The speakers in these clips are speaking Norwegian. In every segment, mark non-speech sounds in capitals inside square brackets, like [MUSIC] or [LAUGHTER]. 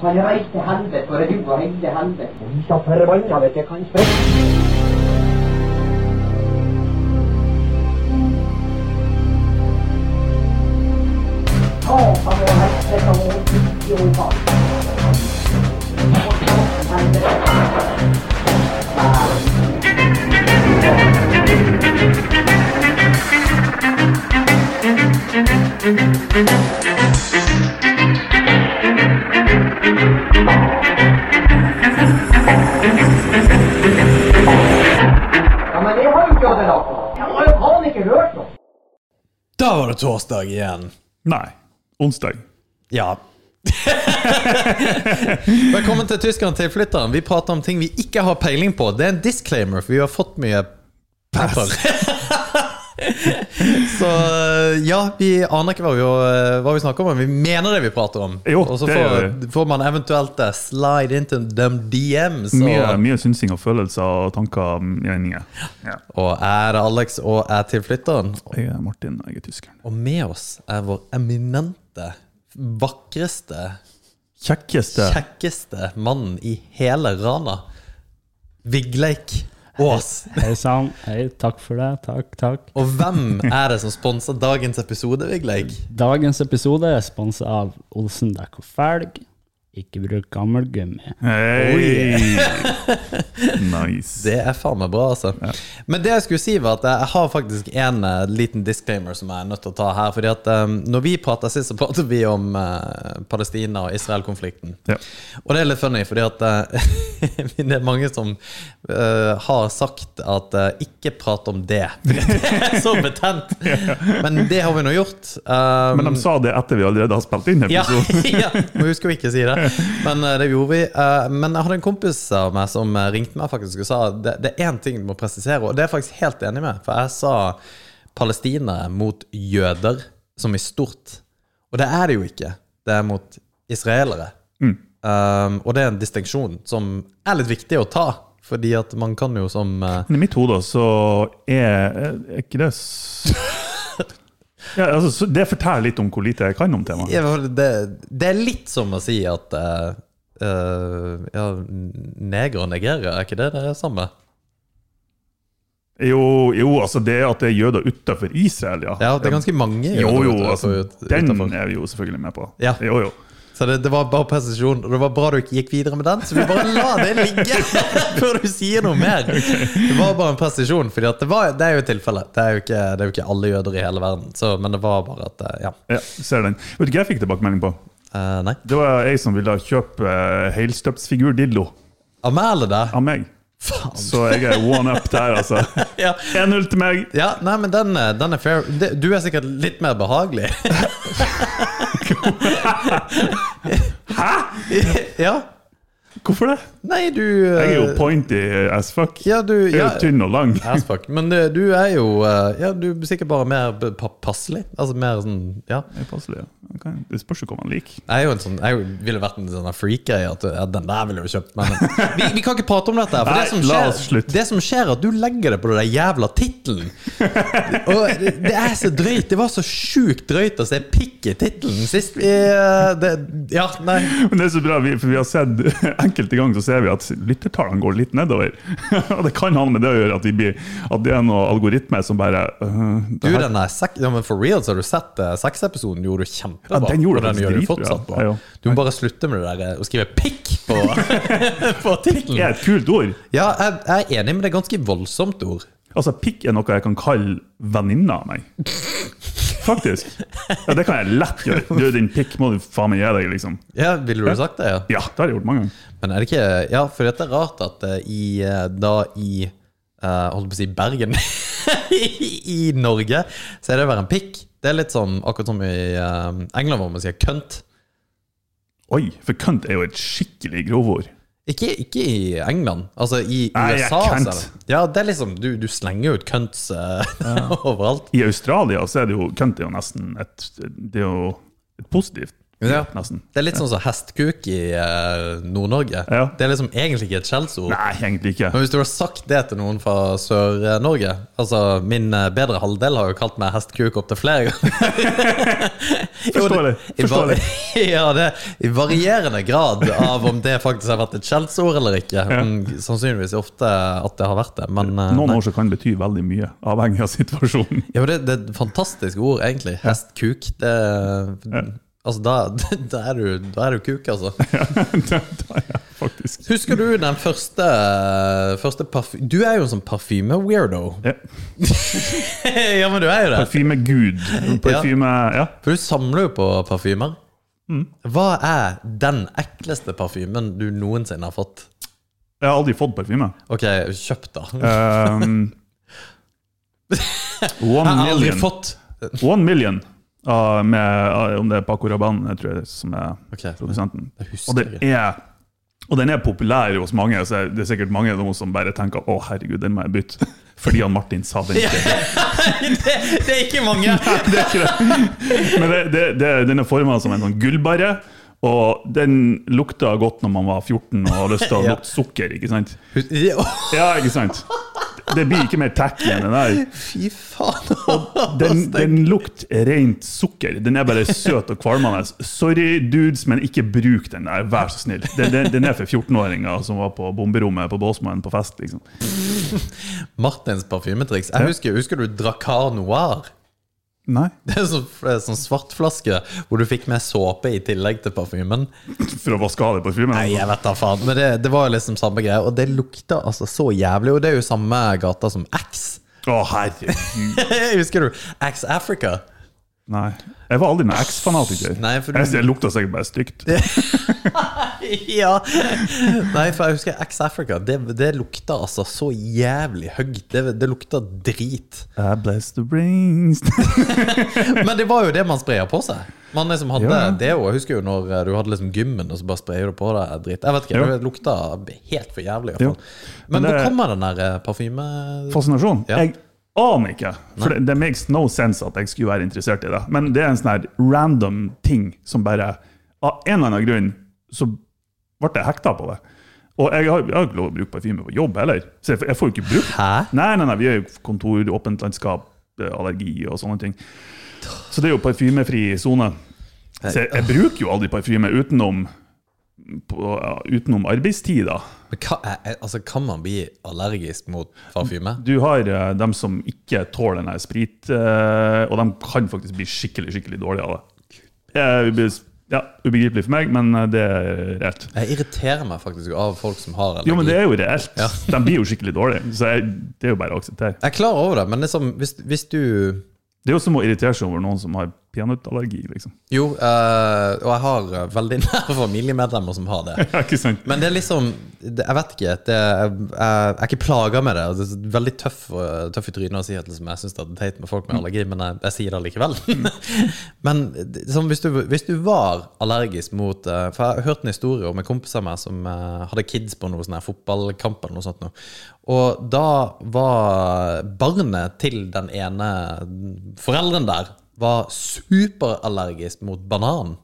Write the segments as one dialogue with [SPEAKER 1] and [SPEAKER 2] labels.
[SPEAKER 1] For det var ikke helvete, for det var ikke helvete.
[SPEAKER 2] Så forbanna vet jeg kanskje.
[SPEAKER 1] Å, for det var helvete, og ikke jo faen. Ja, men det har jo ikke Odd Elako. Jeg har jo faen ikke hørt noe.
[SPEAKER 3] Da var det torsdag igjen.
[SPEAKER 4] Nei. Onsdag.
[SPEAKER 3] Ja. [LAUGHS] Velkommen til Tyskeren til flytteren. Vi prater om ting vi ikke har peiling på. Det er en disclaimer, for vi har fått mye pepper. [LAUGHS] Så eh, ja, vi aner ikke hva vi, eh, hva vi snakker om, men vi mener det vi prater om.
[SPEAKER 4] Jo,
[SPEAKER 3] og så
[SPEAKER 4] det
[SPEAKER 3] får,
[SPEAKER 4] gjør vi.
[SPEAKER 3] får man eventuelt eh, slide into them DMs. Og,
[SPEAKER 4] Mye, mye synsing og følelser og tanker og meninger. Ja.
[SPEAKER 3] og er det Alex og er til flytteren.
[SPEAKER 4] Jeg er Martin, og jeg er tyskeren.
[SPEAKER 3] Og med oss er vår eminente, vakreste
[SPEAKER 4] Kjekkeste
[SPEAKER 3] kjekkeste mannen i hele Rana. Vigleik Aas.
[SPEAKER 5] Hei sann. Hei, takk for det. Takk, takk.
[SPEAKER 3] Og hvem er det som sponser dagens episode, Vigleik?
[SPEAKER 5] Dagens episode er sponsa av Olsen dekk og felg. Ikke bruk gammel gummi.
[SPEAKER 4] [LAUGHS] Hei! Nice.
[SPEAKER 3] Det er faen meg bra, altså. Men det jeg skulle si, var at jeg har faktisk en eh, liten disclaimer som jeg er nødt til å ta her. fordi at eh, når vi prater sist, så prater vi om eh, Palestina- og Israel-konflikten.
[SPEAKER 4] Ja.
[SPEAKER 3] Og det er litt funny, fordi at eh, [LAUGHS] det er mange som eh, har sagt at eh, ikke prat om det. [LAUGHS] Fordi det er så betent. Men det har vi nå gjort. Um,
[SPEAKER 4] Men de sa det etter vi allerede har spilt inn
[SPEAKER 3] ja,
[SPEAKER 4] episoden.
[SPEAKER 3] [LAUGHS] ja, må huske å ikke si det. Men eh, det gjorde vi. Eh, men jeg hadde en kompis av meg som eh, ringte meg faktisk og sa det, det er én ting du må presisere, og det er jeg faktisk helt enig med. For jeg sa palestinere mot jøder, som i stort. Og det er det jo ikke. Det er mot israelere. Um, og det er en distinksjon som er litt viktig å ta, fordi at man kan jo som eh,
[SPEAKER 4] Men i mitt hode så er, er ikke det s- ja, altså, så Det forteller litt om hvor lite jeg kan om temaet.
[SPEAKER 3] Ja, for det, det er litt som å si at uh, ja, neger og negere, er ikke det det samme?
[SPEAKER 4] Jo, jo, altså det at det er jøder utafor Israel, ja.
[SPEAKER 3] Ja, det er ganske mange.
[SPEAKER 4] Jo, jo,
[SPEAKER 3] utenfor-
[SPEAKER 4] altså,
[SPEAKER 3] ut-
[SPEAKER 4] den
[SPEAKER 3] utenfor.
[SPEAKER 4] er vi jo selvfølgelig med på.
[SPEAKER 3] Ja.
[SPEAKER 4] Jo, jo.
[SPEAKER 3] Så det, det var bare presisjon, og det var bra du ikke gikk videre med den, så vi bare la det ligge [LAUGHS] før du sier noe
[SPEAKER 4] [LAUGHS]
[SPEAKER 3] mer. Det var bare en presisjon, for det, var- det er jo tilfellet. Det er jo ikke, det er jo ikke alle jøder i hele verden, så, men det var bare at eh, Ja.
[SPEAKER 4] Ja, ser den. Vet du hva jeg fikk tilbakemelding på?
[SPEAKER 3] Eh, nei.
[SPEAKER 4] Det var jeg som ville kjøpe eh, helstøpsfigur Dillo
[SPEAKER 3] Av meg eller deg?
[SPEAKER 4] av meg.
[SPEAKER 3] Faen.
[SPEAKER 4] Så jeg er one up der, altså. [LAUGHS]
[SPEAKER 3] Ja.
[SPEAKER 4] 1-0 til meg.
[SPEAKER 3] Ja, nei, men den, eh, den er fair. Det- Du er sikkert litt mer
[SPEAKER 4] [LAUGHS]
[SPEAKER 3] behagelig. Hæ?! [LAUGHS] Ja.
[SPEAKER 4] Hvorfor det?
[SPEAKER 3] Nei, du
[SPEAKER 4] Jeg er jo
[SPEAKER 3] eh,
[SPEAKER 4] pointy as fuck.
[SPEAKER 3] Ja, du
[SPEAKER 4] Jeg er
[SPEAKER 3] ja,
[SPEAKER 4] jo tynn og lang.
[SPEAKER 3] ass fuck. Men eh, du er jo eh, Ja, du er sikkert bare mer be- pa- passelig. Altså mer sånn Ja.
[SPEAKER 4] [LAUGHS] Jeg er passelig, ja. Jeg kan- Det spørs jo hva man liker. [LAUGHS]
[SPEAKER 3] Jeg er jo en sånn Jeg ville vært en sånn freak-greie. At ja, den der ville du kjøpt, men eh,
[SPEAKER 4] [LAUGHS]
[SPEAKER 3] vi, vi kan ikke prate om dette. her, For
[SPEAKER 4] Nei,
[SPEAKER 3] det, som
[SPEAKER 4] la oss
[SPEAKER 3] skjer,
[SPEAKER 4] slutte.
[SPEAKER 3] det som skjer, er at du legger det på den der jævla
[SPEAKER 4] [LAUGHS]
[SPEAKER 3] tittelen. Og det, det er så drøyt. Det var så sjukt drøyt å se pikk i tittelen sist vi eh, det, Ja, nei.
[SPEAKER 4] Men det er så bra, vi, for vi har sett [LAUGHS] enkelte ganger så ser vi at lyttertallene går litt nedover. [LAUGHS] Og det kan ha med det å gjøre at, vi blir, at det er noen algoritme som bare øh, det
[SPEAKER 3] Du,
[SPEAKER 4] her-
[SPEAKER 3] den der sek ja, men For real, så har du sett eh, sexepisoden. Gjorde du kjempebra.
[SPEAKER 4] Ja, den gjorde
[SPEAKER 3] og den
[SPEAKER 4] faktisk
[SPEAKER 3] gjør du
[SPEAKER 4] dritbra.
[SPEAKER 3] fortsatt bra.
[SPEAKER 4] Ja, ja.
[SPEAKER 3] Du må bare slutte med det der eh, å skrive 'pikk' på,
[SPEAKER 4] [LAUGHS]
[SPEAKER 3] på
[SPEAKER 4] er
[SPEAKER 3] tittelen.
[SPEAKER 4] et kult ord.
[SPEAKER 3] Ja, jeg, jeg er enig, men det er ganske voldsomt ord.
[SPEAKER 4] Altså, pikk er noe jeg kan kalle venninna av meg. Faktisk. Ja, det kan jeg lett gjøre. Du, din pikk må du faen meg gi deg, liksom.
[SPEAKER 3] Ja, Ville du sagt det? ja?
[SPEAKER 4] Ja, det har jeg gjort mange ganger.
[SPEAKER 3] Men er det ikke Ja, for det er rart at eh, i eh, da i eh, Holdt på å si Bergen [LAUGHS] I, I Norge så er det å være en pikk. Det er litt sånn akkurat som i eh, England hvor man sier kønt.
[SPEAKER 4] Oi, for kønt er jo et skikkelig grovord.
[SPEAKER 3] Ikke, ikke i England. Altså, i
[SPEAKER 4] Nei, jeg
[SPEAKER 3] USA
[SPEAKER 4] er
[SPEAKER 3] så er
[SPEAKER 4] kønt.
[SPEAKER 3] det Ja, det er liksom Du, du slenger ut kønts eh, [LAUGHS] overalt.
[SPEAKER 4] I Australia så er det jo kønt er jo nesten et, det er jo et positivt
[SPEAKER 3] Ja.
[SPEAKER 4] nesten.
[SPEAKER 3] Det er litt sånn som hestkuk i eh, Nord-Norge.
[SPEAKER 4] Ja.
[SPEAKER 3] Det er liksom egentlig ikke et skjellsord.
[SPEAKER 4] Nei, egentlig ikke.
[SPEAKER 3] Men hvis du har sagt det til noen fra Sør-Norge Altså, min eh, bedre halvdel har jo kalt meg hestkuk opptil flere
[SPEAKER 4] [LAUGHS]
[SPEAKER 3] ganger. Jo, det-
[SPEAKER 4] Forståelig,
[SPEAKER 3] i var-
[SPEAKER 4] forståelig.
[SPEAKER 3] [LAUGHS] Ja, det I varierende grad av om det faktisk har vært et skjellsord eller ikke. Men sannsynligvis ofte at det har vært det. Men eh,
[SPEAKER 4] Noen
[SPEAKER 3] nei.
[SPEAKER 4] ord som kan bety veldig mye, avhengig av situasjonen. [LAUGHS]
[SPEAKER 3] ja, men det, det er et fantastisk ord, egentlig. Hestkuk. Det Altså, da, [LAUGHS] da, er du, da er du kuk, altså.
[SPEAKER 4] det tar jeg faktisk.
[SPEAKER 3] Husker du den første, første parfy... Du er jo en sånn parfyme-weirdo.
[SPEAKER 4] Ja.
[SPEAKER 3] [LAUGHS] ja, men du er jo det.
[SPEAKER 4] Parfymegud. Parfyme Ja.
[SPEAKER 3] For du samler jo på parfymer. Hva er den ekleste parfymen du noensinne har fått?
[SPEAKER 4] Jeg har aldri fått parfyme.
[SPEAKER 3] Ok, kjøpt, da. Jeg [LAUGHS]
[SPEAKER 4] Um, one
[SPEAKER 3] har aldri
[SPEAKER 4] million.
[SPEAKER 3] fått
[SPEAKER 4] One million. ah, med, ah, om det er Paco Rabanne, jeg tror jeg, som er
[SPEAKER 3] Ok, det
[SPEAKER 4] produsenten. Og
[SPEAKER 3] husker
[SPEAKER 4] den
[SPEAKER 3] jeg.
[SPEAKER 4] er og den er populær hos mange, så det er sikkert mange av dem som bare tenker å herregud, den må jeg bytte. [LAUGHS] Fordi han Martin sa den ikke.
[SPEAKER 3] [LAUGHS]
[SPEAKER 4] [LAUGHS]
[SPEAKER 3] Det, [LAUGHS] det er ikke [LAUGHS] mange!
[SPEAKER 4] Det er ikke det. Men det, det, det, den er forma som en sånn gullbarre, og den lukta godt når man var 14 og hadde lyst til å
[SPEAKER 3] [LAUGHS] Ja.
[SPEAKER 4] lukte sukker. ikke sant?
[SPEAKER 3] Fy
[SPEAKER 4] Ja, ikke sant? Det blir ikke mer tacky enn den der.
[SPEAKER 3] faen! [LAUGHS]
[SPEAKER 4] Den, den lukter rent sukker. Den er bare søt og kvalmende. Sorry, dudes, men ikke bruk den der, vær så snill. Den, den, den er for 14-åringer som var på bomberommet på Båsmann på fest. liksom.
[SPEAKER 3] Martins parfymetriks. Jeg husker, husker du Dracar Noir?
[SPEAKER 4] Nei,
[SPEAKER 3] Det er en sånn, en sånn svart flaske hvor du fikk med såpe i tillegg til parfymen.
[SPEAKER 4] [LAUGHS] For å vaske av det parfymen?
[SPEAKER 3] Nei, jeg vet da faen. Men det, det var jo liksom samme greie. Og det lukta altså så jævlig. Og det er jo samme gata som X. [LAUGHS]
[SPEAKER 4] Å, herregud.
[SPEAKER 3] Husker du X Africa?
[SPEAKER 4] Nei. Jeg var aldri noen X-fanatiker.
[SPEAKER 3] Nei, for du-
[SPEAKER 4] Jeg, jeg lukta sikkert bare stygt.
[SPEAKER 3] [LAUGHS] ja. Nei, for jeg husker X Africa. Det, det lukta altså så jævlig høyt. Det, det lukta drit.
[SPEAKER 4] I bless the brains
[SPEAKER 3] Men det var jo det man spraya på seg. Man liksom hadde
[SPEAKER 4] Ja.
[SPEAKER 3] det jo, Jeg husker jo når eh, du hadde liksom gymmen, og så bare sprayer du på deg dritt. Jeg vet ikke,
[SPEAKER 4] Jo.
[SPEAKER 3] Det lukta helt for jævlig. i
[SPEAKER 4] Jo.
[SPEAKER 3] hvert fall. Men,
[SPEAKER 4] Men det-
[SPEAKER 3] hvor kommer den der eh, parfyme...
[SPEAKER 4] Fascinasjon?
[SPEAKER 3] Ja.
[SPEAKER 4] Jeg aner ikke. For det, det makes no sense at jeg skulle være interessert i det. Men det er en sånn her random ting som bare Av en eller annen grunn så ble jeg hekta på det. Og jeg har, jeg har ikke lov å bruke parfyme på jobb heller. Så jeg, jeg får jo ikke brukt
[SPEAKER 3] Hæ?
[SPEAKER 4] Nei, nei, nei, vi er jo kontor, åpent landskap, eh, allergi og sånne ting. Så det er jo parfymefri sone. Så jeg, jeg bruker jo aldri parfyme utenom, på, ja, utenom arbeidstid, da.
[SPEAKER 3] Men hva, er- er- altså, kan man bli allergisk mot parfyme?
[SPEAKER 4] Du har eh, dem som ikke tåler denne sprit, eh, og de kan faktisk bli skikkelig, skikkelig dårlige av det. Eh, ubes- Ja, ubegripelig for meg, men eh, det er reelt.
[SPEAKER 3] Jeg irriterer meg faktisk av folk som har allergi.
[SPEAKER 4] Jo, men det er jo reelt. [LAUGHS] De blir jo skikkelig dårlige, så jeg, det er jo bare å akseptere.
[SPEAKER 3] Jeg er klar over det, men liksom, hvis, hvis du
[SPEAKER 4] Det er jo som å irritere seg over noen som har peanøttallergi, liksom.
[SPEAKER 3] Jo, eh, og jeg har eh, veldig [LAUGHS] nære familiemedlemmer som har det.
[SPEAKER 4] Ja, ikke sant?
[SPEAKER 3] Men det er liksom det, Jeg vet ikke. Det, jeg, jeg er ikke plaga med det. Det er veldig tøff, eh, tøff i trynet å si at liksom, jeg syns det er teit med folk med allergi, men jeg, jeg sier det likevel. [LAUGHS] men det- sånn, hvis, du, hvis du var allergisk mot eh, For jeg har hørt en historie om en kompis av meg som eh, hadde kids på noe sånn her fotballkamp eller noe sånt. Nå. Og da var barnet til den ene forelderen der var superallergisk mot banan.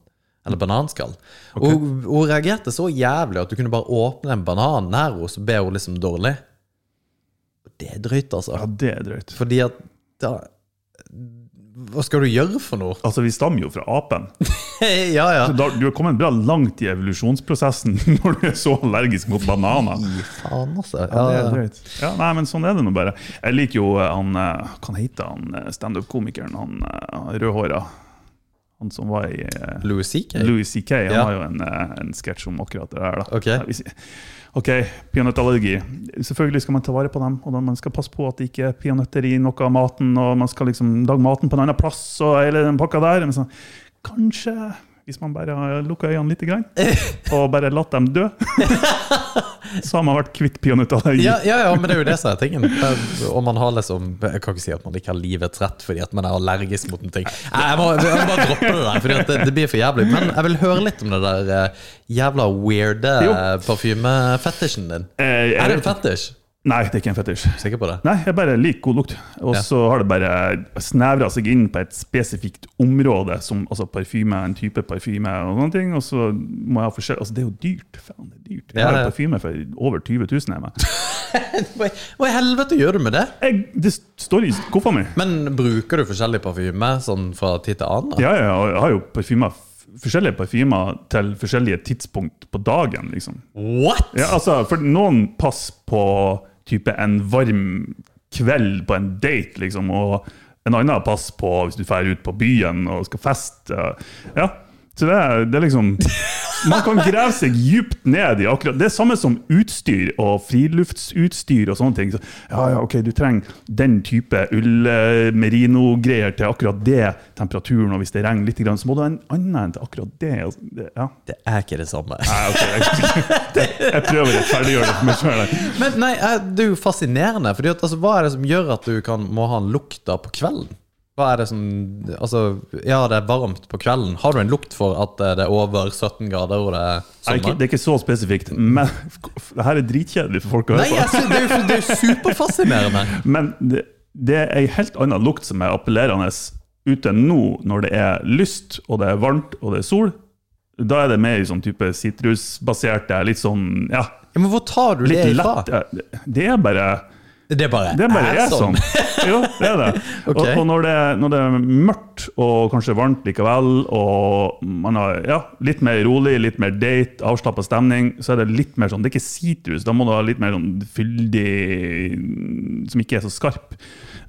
[SPEAKER 3] Eller bananskall. Og hun- hun reagerte så jævlig at du kunne bare åpne en banan nær henne, så ble hun liksom dårlig. Det er drøyt, altså.
[SPEAKER 4] Ja, det er drøyt.
[SPEAKER 3] Fordi at da Hva skal du gjøre for
[SPEAKER 4] [LAUGHS]
[SPEAKER 3] noe?
[SPEAKER 4] Altså, vi stammer jo fra apen.
[SPEAKER 3] ja, ja.
[SPEAKER 4] Da, du har kommet bra langt i evolusjonsprosessen [LAUGHS] når du er så allergisk mot bananer.
[SPEAKER 3] Fy faen, altså.
[SPEAKER 4] Ja, det
[SPEAKER 3] Ja,
[SPEAKER 4] er
[SPEAKER 3] ja.
[SPEAKER 4] drøyt. Ja, nei, men sånn er det nå bare. Jeg liker jo eh, han eh, Hva han heter han eh, standup-komikeren? Han eh, rødhåra. Han som var i eh,
[SPEAKER 3] Louis C.K.
[SPEAKER 4] Louis C.K. Han
[SPEAKER 3] Ja.
[SPEAKER 4] har jo en, eh, en sketsj om akkurat det der. da.
[SPEAKER 3] Ok.
[SPEAKER 4] Nei, hvis- Ok, peanøttallergi. Selvfølgelig skal man ta vare på dem. og da Man skal passe på at det ikke er peanøtter i noe av maten, og man skal liksom lage maten på en annen plass. og hele den pakka der. Men sånn, kanskje hvis man bare har lukka øynene lite
[SPEAKER 3] [LAUGHS]
[SPEAKER 4] grann, og bare latt dem dø, [LAUGHS] så har man vært kvitt peanøttallergi.
[SPEAKER 3] Ja, ja, ja, men det er jo det som er tingen. Eh, Og man har liksom Jeg kan ikke si at man ikke har livets rett fordi at man er allergisk mot en ting. Nei, Jeg må, jeg må bare droppe det der, for det, det blir for jævlig. Men jeg vil høre litt om det der eh, jævla weirde
[SPEAKER 4] Jo.
[SPEAKER 3] eh, parfymefetisjen din.
[SPEAKER 4] Eh, jeg
[SPEAKER 3] Er det
[SPEAKER 4] vet
[SPEAKER 3] en fetisj?
[SPEAKER 4] Nei, det er ikke en fetisj.
[SPEAKER 3] Sikker på det?
[SPEAKER 4] Nei, jeg bare liker god lukt. Og
[SPEAKER 3] Ja.
[SPEAKER 4] så har det bare snevra seg inn på et spesifikt område, som altså parfyme, en type parfyme og sånne ting. Og så må jeg ha forskjell Altså, det er jo dyrt. Faen, det er dyrt. Jeg
[SPEAKER 3] Ja,
[SPEAKER 4] har
[SPEAKER 3] ja.
[SPEAKER 4] jo parfyme for over 20 000 hjemme.
[SPEAKER 3] Hva i- hva i helvete gjør du med det?
[SPEAKER 4] Jeg, det står i skuffa mi.
[SPEAKER 3] Men bruker du forskjellig parfyme sånn fra tid til annen? da?
[SPEAKER 4] Ja, ja, ja, og jeg har jo parfymer, f- forskjellige parfymer til forskjellige tidspunkt på dagen, liksom.
[SPEAKER 3] What?!
[SPEAKER 4] Ja, altså, for noen pass på type en varm kveld på en date, liksom, og en annen pass på hvis du drar ut på byen og skal feste. Ja, så det er, det er liksom Man kan grave seg djupt ned i akkurat Det er samme som utstyr og friluftsutstyr og sånne ting. Så, ja, ja, ok, du trenger den type ull, eh, merino-greier til akkurat det temperaturen, og hvis det regner litt, grann, så må du ha en annen enn til akkurat det. Altså, det- Ja.
[SPEAKER 3] Det er ikke det samme.
[SPEAKER 4] Nei, ok, jeg, [LAUGHS] jeg prøver å rettferdiggjøre det for meg sjøl.
[SPEAKER 3] Men nei, eh, det er jo fascinerende. Fordi at, altså, hva er det som gjør at du kan, må ha en lukt da på kvelden? Hva er det som Altså, ja, det er varmt på kvelden. Har du en lukt for at eh, det er over 17 grader og det er
[SPEAKER 4] Nei, ikke-
[SPEAKER 3] sommer?
[SPEAKER 4] Det er ikke så spesifikt, men det her er dritkjedelig for folk å
[SPEAKER 3] Nei,
[SPEAKER 4] høre
[SPEAKER 3] jeg
[SPEAKER 4] på.
[SPEAKER 3] synes, det, er jo, det er jo superfascinerende.
[SPEAKER 4] [LAUGHS] Men det, det er ei helt annen lukt som er appellerende ute nå, når det er lyst, og det er varmt, og det er sol. Da er det mer sånn type sitrusbaserte, litt sånn ja,
[SPEAKER 3] Ja, men hvor tar du det
[SPEAKER 4] litt
[SPEAKER 3] ifra?
[SPEAKER 4] lett Det er bare
[SPEAKER 3] Det er bare,
[SPEAKER 4] Det bare er sånn. [LAUGHS] Jo, det er det.
[SPEAKER 3] Ok.
[SPEAKER 4] Og, og når, det, når det er mørkt og kanskje varmt likevel, og man har ja, litt mer rolig, litt mer date, avslappa stemning, så er det litt mer sånn Det er ikke sitrus, da må du ha litt mer sånn fyldig Som ikke er så skarp.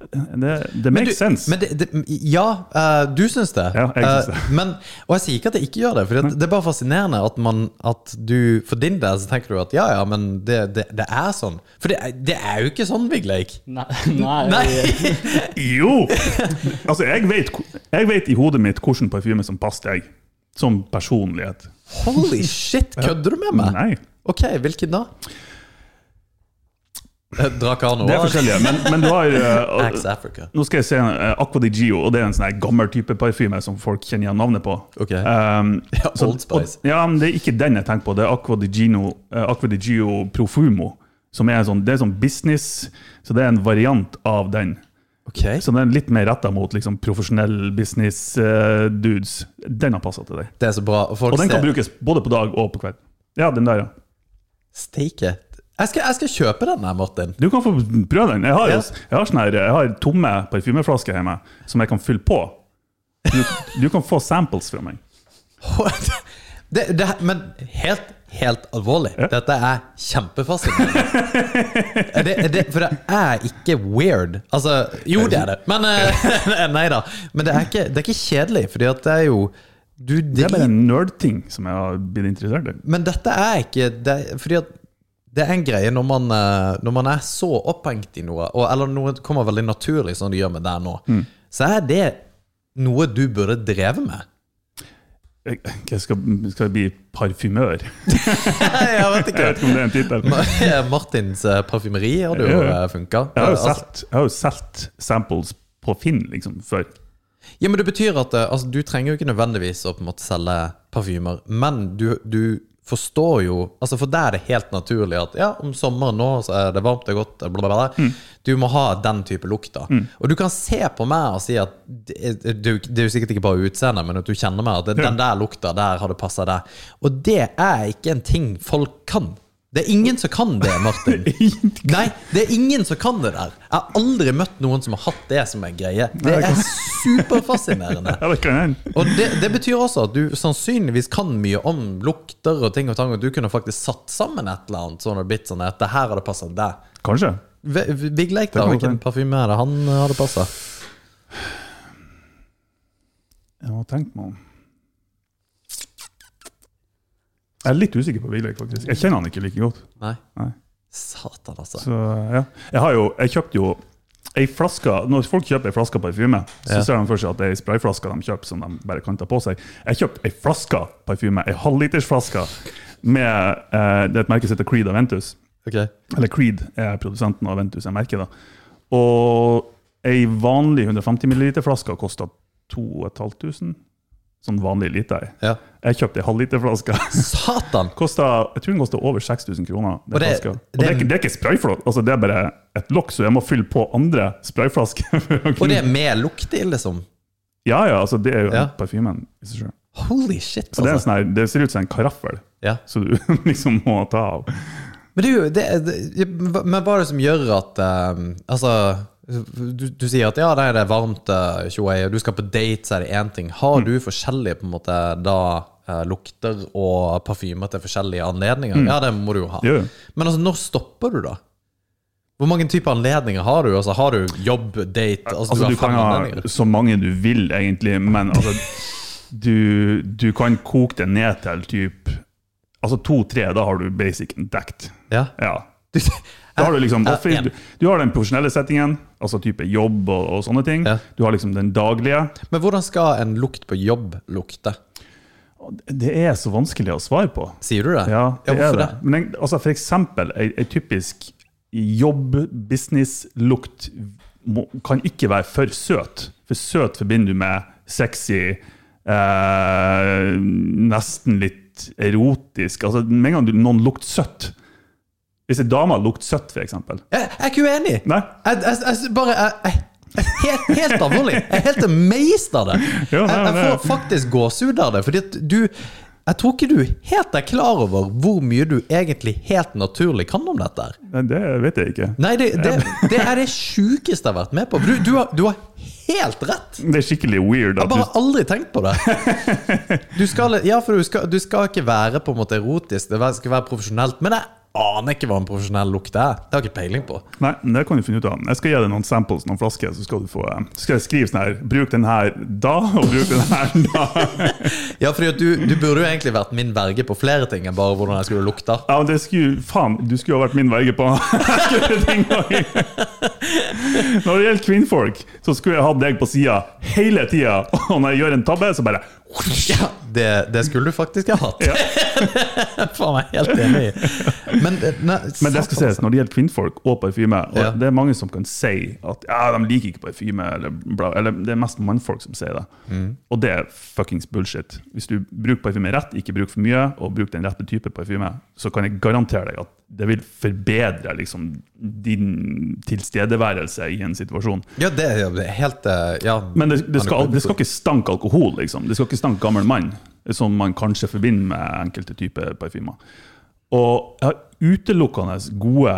[SPEAKER 4] Det, det
[SPEAKER 3] Men
[SPEAKER 4] makes
[SPEAKER 3] du-
[SPEAKER 4] sense.
[SPEAKER 3] Men det, det, ja, eh, du syns det.
[SPEAKER 4] Ja, jeg syns det. Mm.
[SPEAKER 3] Eh, men, og jeg sier ikke at jeg ikke gjør det, for det er bare fascinerende at, man, at du For din del så tenker du at ja, ja, men det, det, det er sånn. For det, er- det er jo ikke sånn, Vigleik.
[SPEAKER 5] Nei, [LAUGHS] nei,
[SPEAKER 3] Nei! [LAUGHS]
[SPEAKER 4] Jo! Altså, jeg vet, jeg vet i hodet mitt hvilken parfyme som passer deg. Som personlighet.
[SPEAKER 3] Holy shit, kødder du med meg?
[SPEAKER 4] Nei.
[SPEAKER 3] Ok, hvilken da? Eh, Dracano.
[SPEAKER 4] Det er forskjellige, men, men du har eh,
[SPEAKER 3] Axe Africa.
[SPEAKER 4] Nå skal jeg se en, eh, Aqua di Gio, og det er en sånn her gammel type parfyme som folk kjenner igjen navnet på.
[SPEAKER 3] Ok.
[SPEAKER 4] Um,
[SPEAKER 3] [LAUGHS] Ja,
[SPEAKER 4] så-
[SPEAKER 3] Old Spice.
[SPEAKER 4] Og, ja, men Det er ikke den jeg tenker på. Det er Aqua di, Gino, eh, Aqua di Gio Profumo. Som er en sånn, det er sånn business, så det er en variant av den.
[SPEAKER 3] Ok.
[SPEAKER 4] Så den er litt mer retta mot liksom, profesjonell business eh, dudes. Den har passa til deg.
[SPEAKER 3] Det er så bra. Folk
[SPEAKER 4] Og den kan
[SPEAKER 3] ser-
[SPEAKER 4] brukes både på dag og på kveld. Ja, den der, ja.
[SPEAKER 3] Steike. Jeg skal, jeg skal kjøpe den her, Martin.
[SPEAKER 4] Du kan få prøve den. Jeg har,
[SPEAKER 3] Ja.
[SPEAKER 4] jeg har, sånne her, jeg har tomme parfymeflasker hjemme som jeg kan fylle på. Du, du kan få samples fra meg.
[SPEAKER 3] [LAUGHS] Det, det, men helt, helt alvorlig. Dette er kjempefascinerende. Er det, er det, for det er ikke weird. Altså, jo, det er det. Men eh, [LAUGHS] Nei da. Men det er ikke, det er ikke kjedelig, fordi at det er jo du
[SPEAKER 4] Det er bare
[SPEAKER 3] dri-
[SPEAKER 4] en nerd-ting som jeg har blitt interessert i.
[SPEAKER 3] Men dette er ikke det, Fordi at det er en greie når man, eh, når man er så opphengt i noe, og, eller noe kommer veldig naturlig, som det gjør med deg nå,
[SPEAKER 4] Mm.
[SPEAKER 3] så er det noe du burde dreve
[SPEAKER 4] [LAUGHS]
[SPEAKER 3] med.
[SPEAKER 4] Jeg, jeg skal, skal jeg bli parfymør?
[SPEAKER 3] Jeg vet [LAUGHS]
[SPEAKER 4] Jeg vet ikke om det er en tittel.
[SPEAKER 3] Martins eh, parfymeri har du jo eh,
[SPEAKER 4] Ja, ja.
[SPEAKER 3] funka.
[SPEAKER 4] Jeg har jo solgt- jeg har jo solgt samples på Finn liksom, før.
[SPEAKER 3] Ja, men det betyr at eh, altså, du trenger jo ikke nødvendigvis å på en måte selge parfymer, men du, du forstår jo altså For deg er det helt naturlig at ja, om sommeren nå så er det varmt, det er godt, bla, bla, bla. Du må ha den type lukt. da. Og du kan se på meg og si at det er, det er jo- det er jo sikkert ikke bare utseendet, men at du kjenner meg, at det- den der lukta, der har det passa deg. Og det er ikke en ting folk kan. Det er ingen som kan det, Martin. Nei, det er ingen som kan det der. Jeg har aldri møtt noen som har hatt det som en greie. Det
[SPEAKER 4] det
[SPEAKER 3] er superfascinerende.
[SPEAKER 4] Ja, det kan hende.
[SPEAKER 3] Og det, det betyr også at du sannsynligvis kan mye om lukter og ting og tang, og du kunne faktisk satt sammen et eller annet sånn og blitt sånn at det her hadde passa deg.
[SPEAKER 4] Kanskje.
[SPEAKER 3] V- v- Vigleik, da.
[SPEAKER 4] kan godt
[SPEAKER 3] Hvilken
[SPEAKER 4] hende.
[SPEAKER 3] parfyme er det han eh, hadde passa?
[SPEAKER 4] Jeg må tenke meg om. Jeg er litt usikker på Vigleik, faktisk. Jeg kjenner han ikke like godt.
[SPEAKER 3] Nei.
[SPEAKER 4] Nei.
[SPEAKER 3] Satan, altså.
[SPEAKER 4] Så, ja. jeg, har jo, jeg kjøpte jo ei flaske Når folk kjøper ei flaske parfyme, så
[SPEAKER 3] Ja.
[SPEAKER 4] ser de for seg at det er ei sprayflaske de kjøper som de bare kan ta på seg. Jeg kjøpte ei flaske parfyme, ei halvlitersflaske, med eh, det er et merke som heter Creed Aventus.
[SPEAKER 3] Ok.
[SPEAKER 4] Eller Creed er produsenten av Aventus, jeg merker det. Og ei vanlig 150 ml-flaske kosta 2500. sånn vanlig lita ei.
[SPEAKER 3] Ja.
[SPEAKER 4] Jeg kjøpte ei halvliterflaske. [LAUGHS]
[SPEAKER 3] Satan!
[SPEAKER 4] Kosta- Jeg tror den kosta over 6000 kroner.
[SPEAKER 3] Og
[SPEAKER 4] Det,
[SPEAKER 3] det-
[SPEAKER 4] flaska. og det, er,
[SPEAKER 3] det-
[SPEAKER 4] ikke- det er ikke sprayflåt, altså, det er bare et lokk, så jeg må fylle på andre sprayflasker. [LAUGHS] for å
[SPEAKER 3] Og det
[SPEAKER 4] kunne-
[SPEAKER 3] er med lukt i, liksom.
[SPEAKER 4] Ja, ja, altså, det er jo
[SPEAKER 3] Ja.
[SPEAKER 4] parfymen i seg sjøl.
[SPEAKER 3] Holy shit,
[SPEAKER 4] Og det, er en
[SPEAKER 3] altså.
[SPEAKER 4] sånn her- det ser ut som en karaffel,
[SPEAKER 3] Ja.
[SPEAKER 4] så du [LAUGHS] liksom må ta av.
[SPEAKER 3] Altså, Men, det, er jo- det, det, men hva er det som gjør at eh, Altså, du, du sier at ja, nei, det er varmt, eh, tjoei, og du skal på date, så er det én ting.
[SPEAKER 4] Mm.
[SPEAKER 3] Har du forskjellige på en måte da eh, lukter og parfymer til forskjellige anledninger? Ja, det må du jo ha.
[SPEAKER 4] Mm. Jo, jo.
[SPEAKER 3] Men altså, når stopper du, da? Hvor mange typer anledninger har du? Altså, har du jobb, date Altså,
[SPEAKER 4] Altså,
[SPEAKER 3] du
[SPEAKER 4] du
[SPEAKER 3] har
[SPEAKER 4] kan
[SPEAKER 3] fem
[SPEAKER 4] ha
[SPEAKER 3] anledninger. liksom.
[SPEAKER 4] så mange du vil, egentlig, men altså, du, du kan koke det ned til typ Altså to-tre, da har du basicen dekt.
[SPEAKER 3] Ja.
[SPEAKER 4] Ja.
[SPEAKER 3] Du,
[SPEAKER 4] Da har du liksom
[SPEAKER 3] Ja,
[SPEAKER 4] offer,
[SPEAKER 3] ja.
[SPEAKER 4] du, du har den profesjonelle settingen, altså type jobb og, og sånne ting.
[SPEAKER 3] Ja.
[SPEAKER 4] Du har liksom den daglige.
[SPEAKER 3] Men hvordan skal en lukt på jobb lukte?
[SPEAKER 4] Det er så vanskelig å svare på.
[SPEAKER 3] Sier du det?
[SPEAKER 4] Ja, det er
[SPEAKER 3] hvorfor
[SPEAKER 4] det. Men jeg, altså for eksempel, ei, ei typisk jobb-business-lukt må- kan ikke være for søt. For søt forbinder du med sexy, eh, nesten litt erotisk. Altså, med en gang du, noen lukter søtt Hvis ei dame lukter søtt, for eksempel
[SPEAKER 3] Jeg, jeg er ikke uenig!
[SPEAKER 4] Nei?
[SPEAKER 3] Jeg, jeg, jeg, bare jeg, jeg, jeg, helt, helt alvorlig. Jeg er helt amazed av det.
[SPEAKER 4] [LAUGHS] Ja,
[SPEAKER 3] Jeg,
[SPEAKER 4] nei,
[SPEAKER 3] jeg
[SPEAKER 4] men
[SPEAKER 3] får faktisk gåsehud av det. Fordi at du Jeg tror ikke du helt er klar over hvor mye du egentlig helt naturlig kan om dette. her.
[SPEAKER 4] Nei, det vet jeg ikke.
[SPEAKER 3] Nei, det, det, det er det sjukeste jeg har vært med på. Du, du, har, du har helt rett!
[SPEAKER 4] Det er skikkelig weird.
[SPEAKER 3] Jeg
[SPEAKER 4] At
[SPEAKER 3] har bare
[SPEAKER 4] du,
[SPEAKER 3] aldri tenkt på det. Du skal, ja, for du skal, du skal ikke være på en måte erotisk, det skal være profesjonelt. Men jeg aner ikke hva en profesjonell lukt er. Det har jeg ikke peiling på.
[SPEAKER 4] nei, men det kan du finne ut av. Jeg skal gi deg noen samples, noen flasker, så skal du få eh, så skal jeg skrive sånn her Bruk den her da, og bruk den her da.
[SPEAKER 3] Ja, fordi at du, du burde jo egentlig vært min verge på flere ting enn bare hvordan jeg skulle lukte.
[SPEAKER 4] Ja, men det skulle, faen, du skulle jo ha vært min verge på [LAUGHS] akkurat den gangen. Når det gjelder kvinnfolk, så skulle jeg hatt deg på sida hele tida. Og når jeg gjør en tabbe, så bare
[SPEAKER 3] Ja, det, det skulle du faktisk ha hatt. [LAUGHS] Faen meg helt enig i. Men, eh, nei,
[SPEAKER 4] Men det skal
[SPEAKER 3] satan,
[SPEAKER 4] ses, når det gjelder kvinnfolk og parfyme og
[SPEAKER 3] Ja.
[SPEAKER 4] Det er mange som kan si at ja, de liker ikke parfyme, eller, bla, eller det er mest mannfolk som sier det. Og det er fuckings bullshit. Hvis du bruker parfyme rett, ikke bruk for mye, og bruk den rette type parfyme, så kan jeg garantere deg at det vil forbedre liksom, din tilstedeværelse i en situasjon.
[SPEAKER 3] altså. Ja, det er jo helt eh, ja,
[SPEAKER 4] Men det, det, skal, det skal ikke stanke alkohol, liksom. Det skal ikke stanke gammel mann, som man kanskje forbinder med enkelte typer parfymer. Og jeg har utelukkende gode,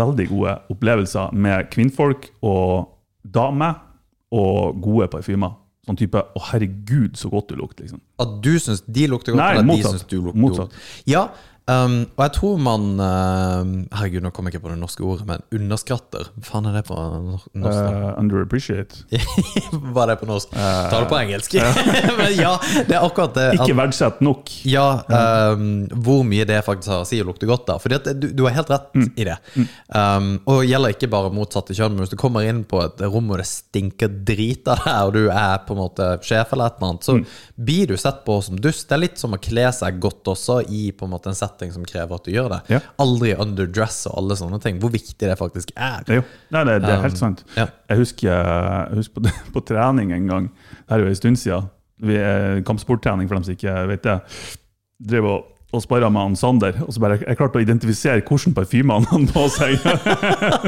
[SPEAKER 4] veldig gode opplevelser med kvinnfolk og damer og gode parfymer. Sånn type 'Å, herregud, så godt du lukter', liksom.
[SPEAKER 3] At du syns de lukter godt,
[SPEAKER 4] Nei,
[SPEAKER 3] eller at
[SPEAKER 4] motsatt.
[SPEAKER 3] de syns du lukter
[SPEAKER 4] Motsatt.
[SPEAKER 3] godt. Ja, ehm, og jeg tror man ehm, Herregud, nå kom jeg ikke på det norske ordet, men underskatter. Hva faen er det på nor- norsk? da?
[SPEAKER 4] Eh, underappreciate.
[SPEAKER 3] Hva er det på norsk? Ta det på engelsk. [LAUGHS] men ja, det er akkurat det. at-
[SPEAKER 4] Ikke verdsett nok.
[SPEAKER 3] Ja, ehm, hvor mye det faktisk har å si å lukte godt, da. For du, du har helt rett
[SPEAKER 4] Mm.
[SPEAKER 3] i det. Ehm, og det gjelder ikke bare motsatte kjønn, men hvis du kommer inn på et rom og det stinker drit av deg, og du er på en måte sjef eller et eller annet, så
[SPEAKER 4] Mm.
[SPEAKER 3] blir du sett på som dust. Det er litt som å kle seg godt også i på en måte en setting som krever at du gjør det.
[SPEAKER 4] Ja.
[SPEAKER 3] Aldri underdress og alle sånne ting. Hvor viktig det faktisk er.
[SPEAKER 4] Jo. Nei, det, det er helt sant.
[SPEAKER 3] Um, ja.
[SPEAKER 4] Jeg husker, jeg husker på, [LAUGHS] på trening en gang, det her er jo en stund siden, vi er kampsporttrening for dem som ikke vet det, drev og, og sparret med han Sander, og så bare, jeg klarte å identifisere hvordan parfyme han hadde på seg.
[SPEAKER 3] [LAUGHS] [LAUGHS]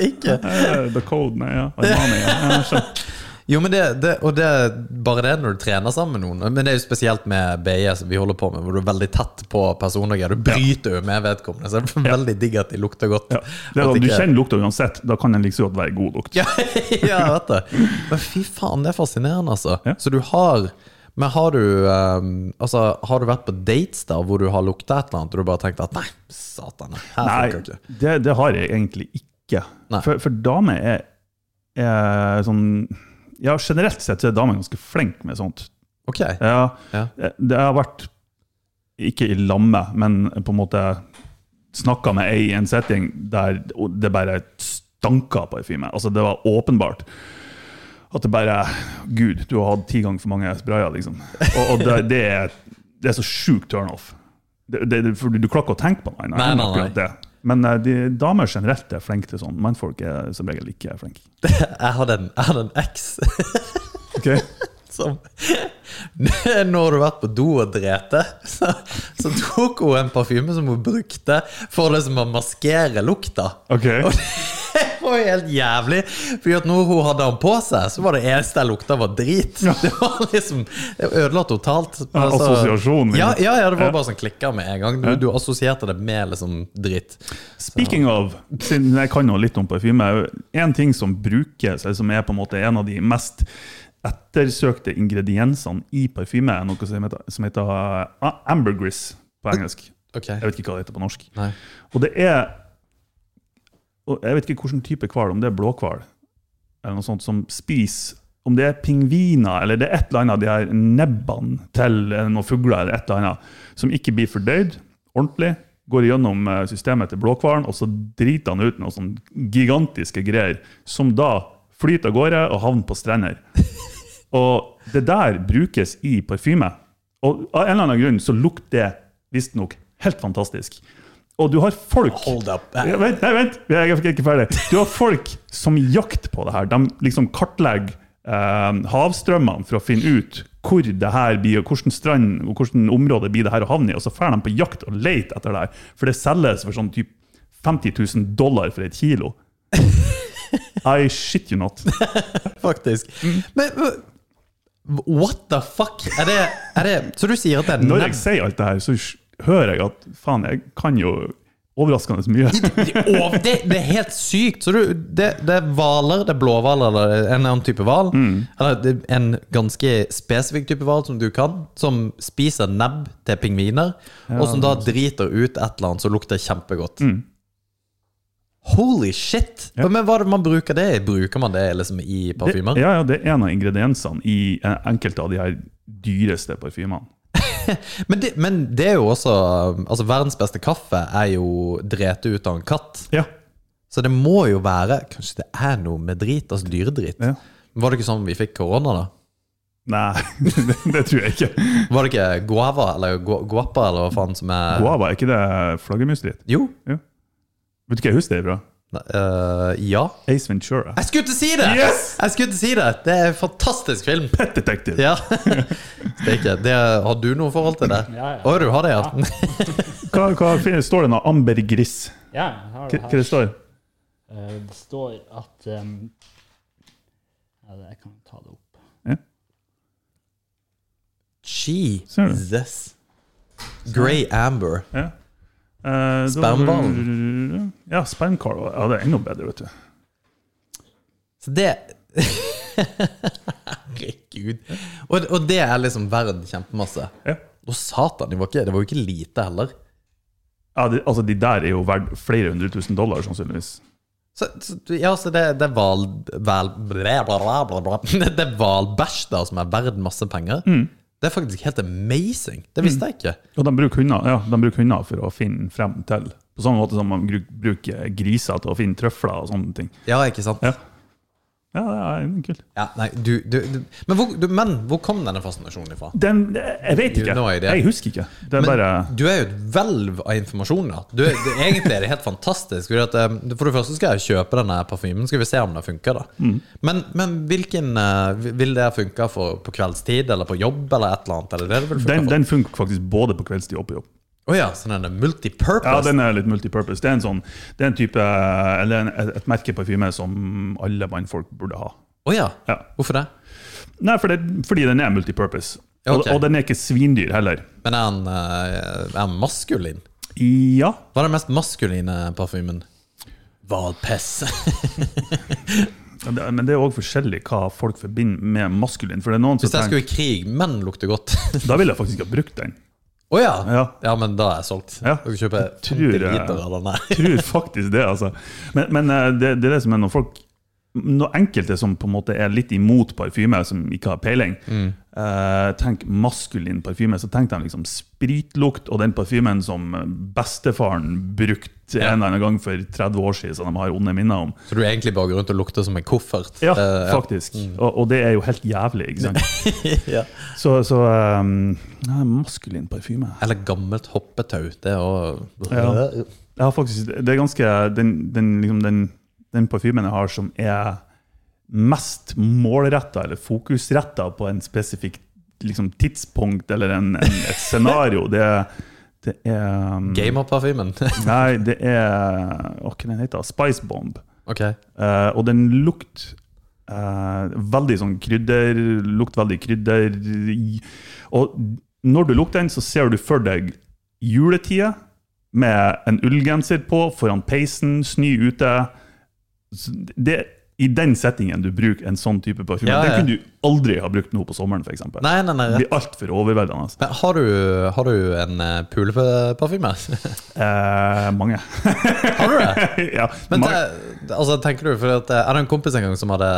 [SPEAKER 3] Ikke.
[SPEAKER 4] Eh, The Code, nei, ja. Armani, ja. ja.
[SPEAKER 3] [LAUGHS]
[SPEAKER 4] skjønt.
[SPEAKER 3] Jo, men det, det, og det er bare det når du trener sammen med noen. Men det er jo spesielt med BI, som vi holder på med, hvor du er veldig tett på personer. og greier. Du bryter jo med vedkommende, så det er veldig digg at de lukter godt.
[SPEAKER 4] Ja. Det er
[SPEAKER 3] At
[SPEAKER 4] da, du
[SPEAKER 3] ikke-
[SPEAKER 4] kjenner lukta uansett, da kan den liksom godt være god
[SPEAKER 3] [LAUGHS]
[SPEAKER 4] lukt.
[SPEAKER 3] Ja, ja, jeg vet det. Men fy faen, det er fascinerende, altså.
[SPEAKER 4] Ja.
[SPEAKER 3] Så du har Men har du ehm, Altså, har du vært på dates der hvor du har lukta et eller annet, og du bare tenkt at nei, satan, det her funker
[SPEAKER 4] Nei,
[SPEAKER 3] ikke.
[SPEAKER 4] det, det har jeg egentlig ikke.
[SPEAKER 3] Nei.
[SPEAKER 4] For, for damer er, er sånn Ja, generelt sett så er damer ganske flinke med sånt.
[SPEAKER 3] Ok.
[SPEAKER 4] Ja, Eh,
[SPEAKER 3] Ja.
[SPEAKER 4] Det har vært Ikke i lamme, men på en måte snakka med ei i en setting der det bare stanka parfyme. Altså, det var åpenbart. At det bare Gud, du har hatt ti ganger for mange sprayer, liksom. Og, og det, det, er, det er så sjukt turnoff. Det, det, det- for du, du klarer ikke å tenke på det.
[SPEAKER 3] Nei, nei,
[SPEAKER 4] akkurat
[SPEAKER 3] nei.
[SPEAKER 4] det. Men eh, de, damer generelt er flinke til sånn. Mannfolk er som regel ikke flinke.
[SPEAKER 3] Jeg hadde en, jeg hadde en eks
[SPEAKER 4] Okay.
[SPEAKER 3] som [LAUGHS] Nå har du vært på do og drete. Så, så tok hun en parfyme som hun brukte for det som å maskere lukta. [LAUGHS]
[SPEAKER 4] Ok. [LAUGHS]
[SPEAKER 3] Og det var jo helt jævlig. Fordi at når hun hadde den på seg, så var det eneste jeg lukta, var drit. Det var liksom Det ødela totalt. Altså,
[SPEAKER 4] Ja, assosiasjon, liksom.
[SPEAKER 3] Ja, ja, ja, det var bare sånn klikka med en gang. Du, du assosierte det med liksom dritt.
[SPEAKER 4] Speaking of, siden jeg kan jo litt om parfyme, en ting som brukes, eller som er på en måte en av de mest ettersøkte ingrediensene i parfyme, er noe som heter, som heter ah, ambergris på engelsk.
[SPEAKER 3] Ok.
[SPEAKER 4] Jeg vet ikke hva det heter på norsk.
[SPEAKER 3] Nei.
[SPEAKER 4] Og det er og Jeg vet ikke hvilken type hval, om det er blåhval eller noe sånt, som spiser Om det er pingviner eller det er et eller annet av de her nebbene til eh, noen fugler eller et eller annet, som ikke blir fordøyd ordentlig, går igjennom eh, systemet til blåhvalen, og så driter han ut noen sånne gigantiske greier, som da flyter av gårde og havner på strender. Og det der brukes i parfyme. Og av en eller annen grunn så lukter det visstnok helt fantastisk. Og du har folk
[SPEAKER 3] Hold up.
[SPEAKER 4] ja, vent, nei, vent, jeg er ikke ferdig. Du har folk som jakter på det her. De liksom kartlegger eh, havstrømmene for å finne ut hvor det her blir, og hvilken strand og hvilken område blir det her å havne i. Og så drar de på jakt og leter etter det her. For det selges for sånn typ 50 000 dollar for et kilo. I shit you not.
[SPEAKER 3] Faktisk.
[SPEAKER 4] Mm.
[SPEAKER 3] Men men, what the fuck? Er det, er det Så du sier at det er
[SPEAKER 4] Når
[SPEAKER 3] nebb?
[SPEAKER 4] jeg sier alt det her, så sj- hører jeg at faen, jeg kan jo overraskende mye.
[SPEAKER 3] Å, det, det er helt sykt! Så du, det, det er hvaler, det er blåhval eller en eller annen type hval.
[SPEAKER 4] Mm.
[SPEAKER 3] Eller det- en ganske spesifikk type hval som du kan, som spiser nebb til pingviner, og som da driter ut et eller annet som lukter kjempegodt.
[SPEAKER 4] Mm.
[SPEAKER 3] Holy shit! Men hva er det man bruker det i? Bruker man det liksom i parfymer?
[SPEAKER 4] Det, ja, ja, det er en av ingrediensene i eh, enkelte av de her dyreste parfymene.
[SPEAKER 3] Men det, men det er jo også Altså, verdens beste kaffe er jo drete ut av en katt.
[SPEAKER 4] Ja.
[SPEAKER 3] Så det må jo være Kanskje det er noe med drit, altså dyredrit.
[SPEAKER 4] Ja.
[SPEAKER 3] Var det ikke sånn vi fikk korona, da?
[SPEAKER 4] Nei, [LAUGHS] det, det tror jeg ikke.
[SPEAKER 3] Var det ikke guava eller gu- guapa eller hva faen som er
[SPEAKER 4] Guava, er ikke det flaggermusdritt?
[SPEAKER 3] Jo.
[SPEAKER 4] Vet du hva jeg husker det er fra?
[SPEAKER 3] Ne- øh, ja.
[SPEAKER 4] Ace Ventura.
[SPEAKER 3] Jeg skulle til å si det!
[SPEAKER 4] Yes!
[SPEAKER 3] Jeg skulle til å si Det Det er en fantastisk
[SPEAKER 4] [LAUGHS]
[SPEAKER 3] film.
[SPEAKER 4] Pet Detective!
[SPEAKER 3] Ja. Steike. Det, har du noe forhold til det?
[SPEAKER 5] Ja, ja.
[SPEAKER 3] Å, du har det, ja?
[SPEAKER 4] Hva, hva fin- står det nå? Ambergris.
[SPEAKER 5] Ja, jeg
[SPEAKER 4] Hva,
[SPEAKER 5] har det
[SPEAKER 4] hva
[SPEAKER 5] her.
[SPEAKER 4] det står
[SPEAKER 5] Eh, Det står at em, Ja, det- jeg kan ta det opp.
[SPEAKER 4] Ser du?
[SPEAKER 3] Jesus. Grey Amber.
[SPEAKER 4] Ja. Eh, det var- Ja, spermkarl. Ja, det er enda bedre, vet du.
[SPEAKER 3] Så det [LAUGHS] Herregud. Og, og det er liksom verdt kjempemasse.
[SPEAKER 4] Ja.
[SPEAKER 3] Og satan, det var, ikke, det var jo ikke lite heller.
[SPEAKER 4] Ja, de, altså, de der er jo verdt flere hundre tusen dollar, sannsynligvis.
[SPEAKER 3] Så, så, ja, så det, det er val... val bla, bla, bla, bla, bla. [LAUGHS] Det er hvalbæsj da, som er verdt masse penger.
[SPEAKER 4] Mm.
[SPEAKER 3] Det er faktisk helt amazing. Det visste jeg ikke.
[SPEAKER 4] Og de bruker hunder, ja, de bruker hunder for å finne frem til. På samme måte som man gru- bruker griser til å finne trøfler og sånne ting.
[SPEAKER 3] Ja, ikke sant?
[SPEAKER 4] Ja. Ja, det er kult.
[SPEAKER 3] Ja, nei, du, du, du. Men, hvor, du, men hvor kom denne fascinasjonen ifra?
[SPEAKER 4] Den, jeg vet
[SPEAKER 3] You
[SPEAKER 4] ikke.
[SPEAKER 3] know idea.
[SPEAKER 4] Jeg husker ikke. Det er
[SPEAKER 3] Men
[SPEAKER 4] bare
[SPEAKER 3] du er jo et hvelv av informasjon. da du, er- det, Egentlig er det helt fantastisk. Fordi at, eh, for det første skal jeg kjøpe denne parfymen, skal vi se om det funker. da
[SPEAKER 4] Mm.
[SPEAKER 3] Men, men hvilken eh, vil det funke for på kveldstid, eller på jobb, eller et eller annet? Eller det det vil funke
[SPEAKER 4] den,
[SPEAKER 3] for?
[SPEAKER 4] den funker faktisk både på kveldstid og på jobb.
[SPEAKER 3] Å ja, så den er multipurpose?
[SPEAKER 4] Ja, den er litt multipurpose. Det er en sånn, det er en type, eller en, et merkeparfyme som alle mannfolk burde ha.
[SPEAKER 3] Å ja.
[SPEAKER 4] Ja.
[SPEAKER 3] Hvorfor det?
[SPEAKER 4] Nei, for det, fordi den er multipurpose. Og,
[SPEAKER 3] Ok.
[SPEAKER 4] og den er ikke svindyr heller.
[SPEAKER 3] Men er den, eh, er den maskulin?
[SPEAKER 4] Ja,
[SPEAKER 3] Hva er den mest maskuline parfymen? Valpess.
[SPEAKER 4] det- men det er òg forskjellig hva folk forbinder med maskulin. For det er noen
[SPEAKER 3] [LAUGHS]
[SPEAKER 4] som
[SPEAKER 3] Hvis jeg skulle
[SPEAKER 4] tenker,
[SPEAKER 3] i krig, menn lukter godt. [LAUGHS]
[SPEAKER 4] Da ville jeg faktisk ikke ha brukt den.
[SPEAKER 3] Å ja. ja!
[SPEAKER 4] Ja.
[SPEAKER 3] men da er jeg solgt.
[SPEAKER 4] Ja.
[SPEAKER 3] Jeg skal kjøpe
[SPEAKER 4] Jeg
[SPEAKER 3] 50
[SPEAKER 4] tror eh, jeg-
[SPEAKER 3] liter av den der.
[SPEAKER 4] tror faktisk det, altså. Men, men eh, det, det er det som er når folk når enkelte som på en måte er litt imot parfyme, som ikke har peiling,
[SPEAKER 3] Mm.
[SPEAKER 4] eh, tenk maskulin parfyme, så tenk de liksom spritlukt og den parfymen som bestefaren brukte en eller annen gang for 30 år siden, som de har onde minner om.
[SPEAKER 3] [LAUGHS] Så du egentlig bare går rundt og lukter som en koffert?
[SPEAKER 4] Ja,
[SPEAKER 3] Eh,
[SPEAKER 4] faktisk. Og, og det er jo helt jævlig, ikke sant?
[SPEAKER 3] [LAUGHS] ja.
[SPEAKER 4] Så, så eh, nei, maskulin parfyme
[SPEAKER 3] Eller gammelt hoppetau. Det er også
[SPEAKER 4] Ja. Jeg har faktisk, det er ganske Den, den, liksom den, den parfymen jeg har som er mest målretta eller fokusretta på en spesifikk liksom, tidspunkt eller en, en, et scenario. Det, det er um,
[SPEAKER 3] Gamer-parfymen. [LAUGHS]
[SPEAKER 4] Nei, det er Hva heter den? heter? Spice Bomb.
[SPEAKER 3] ok.
[SPEAKER 4] Eh, og den lukt eh, veldig sånn krydder, lukt veldig krydder. i- Og når du lukter den, så ser du for deg juletida med en ullgenser på, foran peisen, snø ute. Så Det er i den settingen du bruker en sånn type parfyme.
[SPEAKER 3] Ja, ja.
[SPEAKER 4] Den kunne du aldri ha brukt nå på sommeren, f.eks. Det
[SPEAKER 3] Nei, nei, nei.
[SPEAKER 4] blir
[SPEAKER 3] rett.
[SPEAKER 4] altfor overveldende.
[SPEAKER 3] Men har du, har du en eh, puleparfyme? [LAUGHS]
[SPEAKER 4] Eh, mange.
[SPEAKER 3] Har du det?
[SPEAKER 4] [LAUGHS] ja,
[SPEAKER 3] Men det,
[SPEAKER 4] mange.
[SPEAKER 3] det- altså, tenker du, for at jeg hadde en kompis en gang som hadde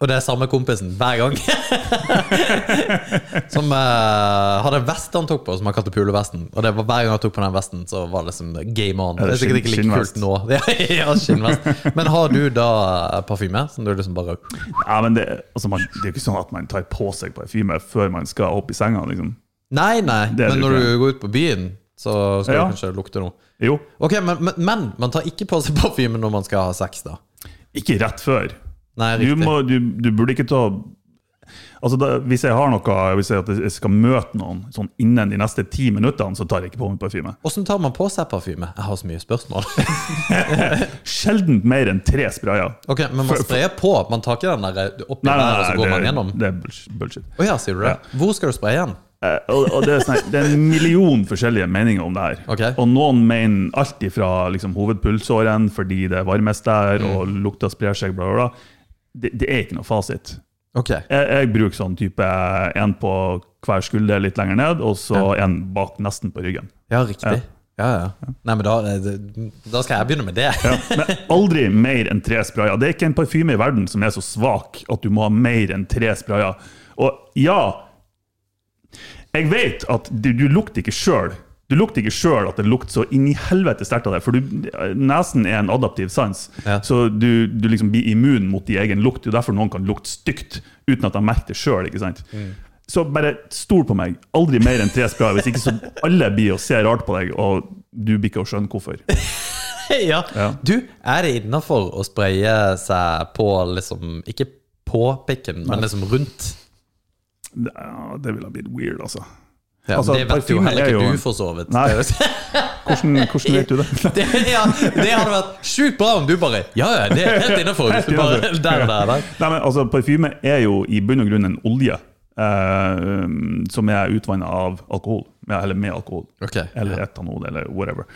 [SPEAKER 3] Og det er samme kompisen hver gang. [LAUGHS] som eh, hadde en vest han tok på, som han kalte pulevesten. Og det var hver gang han tok på den vesten, så var det liksom game on.
[SPEAKER 4] Ja,
[SPEAKER 3] Det
[SPEAKER 4] det
[SPEAKER 3] er sikkert
[SPEAKER 4] skinn-
[SPEAKER 3] ikke like kult nå. [LAUGHS] ja, skinnvest. Men har du da eh, parfyme? Som du liksom bare
[SPEAKER 4] Ja, men det, altså man, det er jo ikke sånn at man tar på seg parfyme før man skal opp i senga. liksom.
[SPEAKER 3] Nei, nei.
[SPEAKER 4] Det er
[SPEAKER 3] Men
[SPEAKER 4] det
[SPEAKER 3] når
[SPEAKER 4] ikke.
[SPEAKER 3] du går ut på byen, så skal
[SPEAKER 4] Ja.
[SPEAKER 3] du kanskje lukte noe.
[SPEAKER 4] Jo,
[SPEAKER 3] Ok, men, men, men man tar ikke på seg parfyme når man skal ha sex, da.
[SPEAKER 4] ikke rett før.
[SPEAKER 3] Nei,
[SPEAKER 4] Du,
[SPEAKER 3] riktig.
[SPEAKER 4] må, du, du burde ikke ta Altså, da, Hvis jeg har noe, hvis jeg, at jeg skal møte noen sånn innen de neste ti minuttene, så tar jeg ikke på meg parfyme.
[SPEAKER 3] Åssen tar man på seg parfyme? Jeg har så mye spørsmål. [LAUGHS]
[SPEAKER 4] Sjelden mer enn tre sprayer.
[SPEAKER 3] Ok, Men man sprayer på? Man tar ikke den der opp i været, og så går man gjennom?
[SPEAKER 4] det, det er bullsh- bullshit.
[SPEAKER 3] Å ja, sier du det? Hvor skal du spraye den?
[SPEAKER 4] Eh, og, og det, er sånn, her- det er en million forskjellige meninger om det her.
[SPEAKER 3] Ok.
[SPEAKER 4] Og noen mener alt ifra liksom, hovedpulsåren fordi det er varmest der, og lukta sprer seg, bla, bla, bla. Det, det er ikke noe fasit.
[SPEAKER 3] Ok,
[SPEAKER 4] Jeg, jeg bruker sånn type en på hver skulder litt lenger ned, og så en bak nesten på ryggen.
[SPEAKER 3] ja, riktig. Ja, ja. Nei, men da, er det- da skal jeg begynne med det.
[SPEAKER 4] [LAUGHS] Men aldri mer enn tre sprayer. Det er ikke en parfyme i verden som er så svak at du må ha mer enn tre sprayer. Og ja, jeg vet at du, du lukter ikke sjøl. Du lukter ikke sjøl at det lukter så inn i helvete sterkt av deg. For du, nesen er en adaptiv sans,
[SPEAKER 3] Ja.
[SPEAKER 4] så du, du liksom blir immun mot din egen lukt. Det er jo derfor noen kan lukte stygt uten at de merker det sjøl. Så bare stol på meg. Aldri mer enn tre sprayer. Hvis ikke så alle blir og ser rart på deg, og du blir ikke å skjønne hvorfor.
[SPEAKER 3] [LAUGHS] ja.
[SPEAKER 4] Ja.
[SPEAKER 3] Du, er det innafor å spraye seg på liksom Ikke på pikken, men liksom rundt?
[SPEAKER 4] Ja, det ville ha blitt weird, altså.
[SPEAKER 3] Ja,
[SPEAKER 4] Altså,
[SPEAKER 3] det vet jo
[SPEAKER 4] parfyme
[SPEAKER 3] heller
[SPEAKER 4] er
[SPEAKER 3] ikke
[SPEAKER 4] jo en-
[SPEAKER 3] du, for så vidt.
[SPEAKER 4] Nei.
[SPEAKER 3] Det er jo-
[SPEAKER 4] [LAUGHS] Hvordan, hvordan vet du [LAUGHS] det?
[SPEAKER 3] Det, [LAUGHS] ja, det hadde vært sjukt bra om du bare Ja, ja, det er helt
[SPEAKER 4] [LAUGHS]
[SPEAKER 3] innafor. Hvis du bare Der, der, der.
[SPEAKER 4] Nei, men altså, Parfyme er jo i bunn og grunn en olje eh, som er utvanna av alkohol. Ja, eller med alkohol.
[SPEAKER 3] Ok,
[SPEAKER 4] Eller etanol, eller whatever.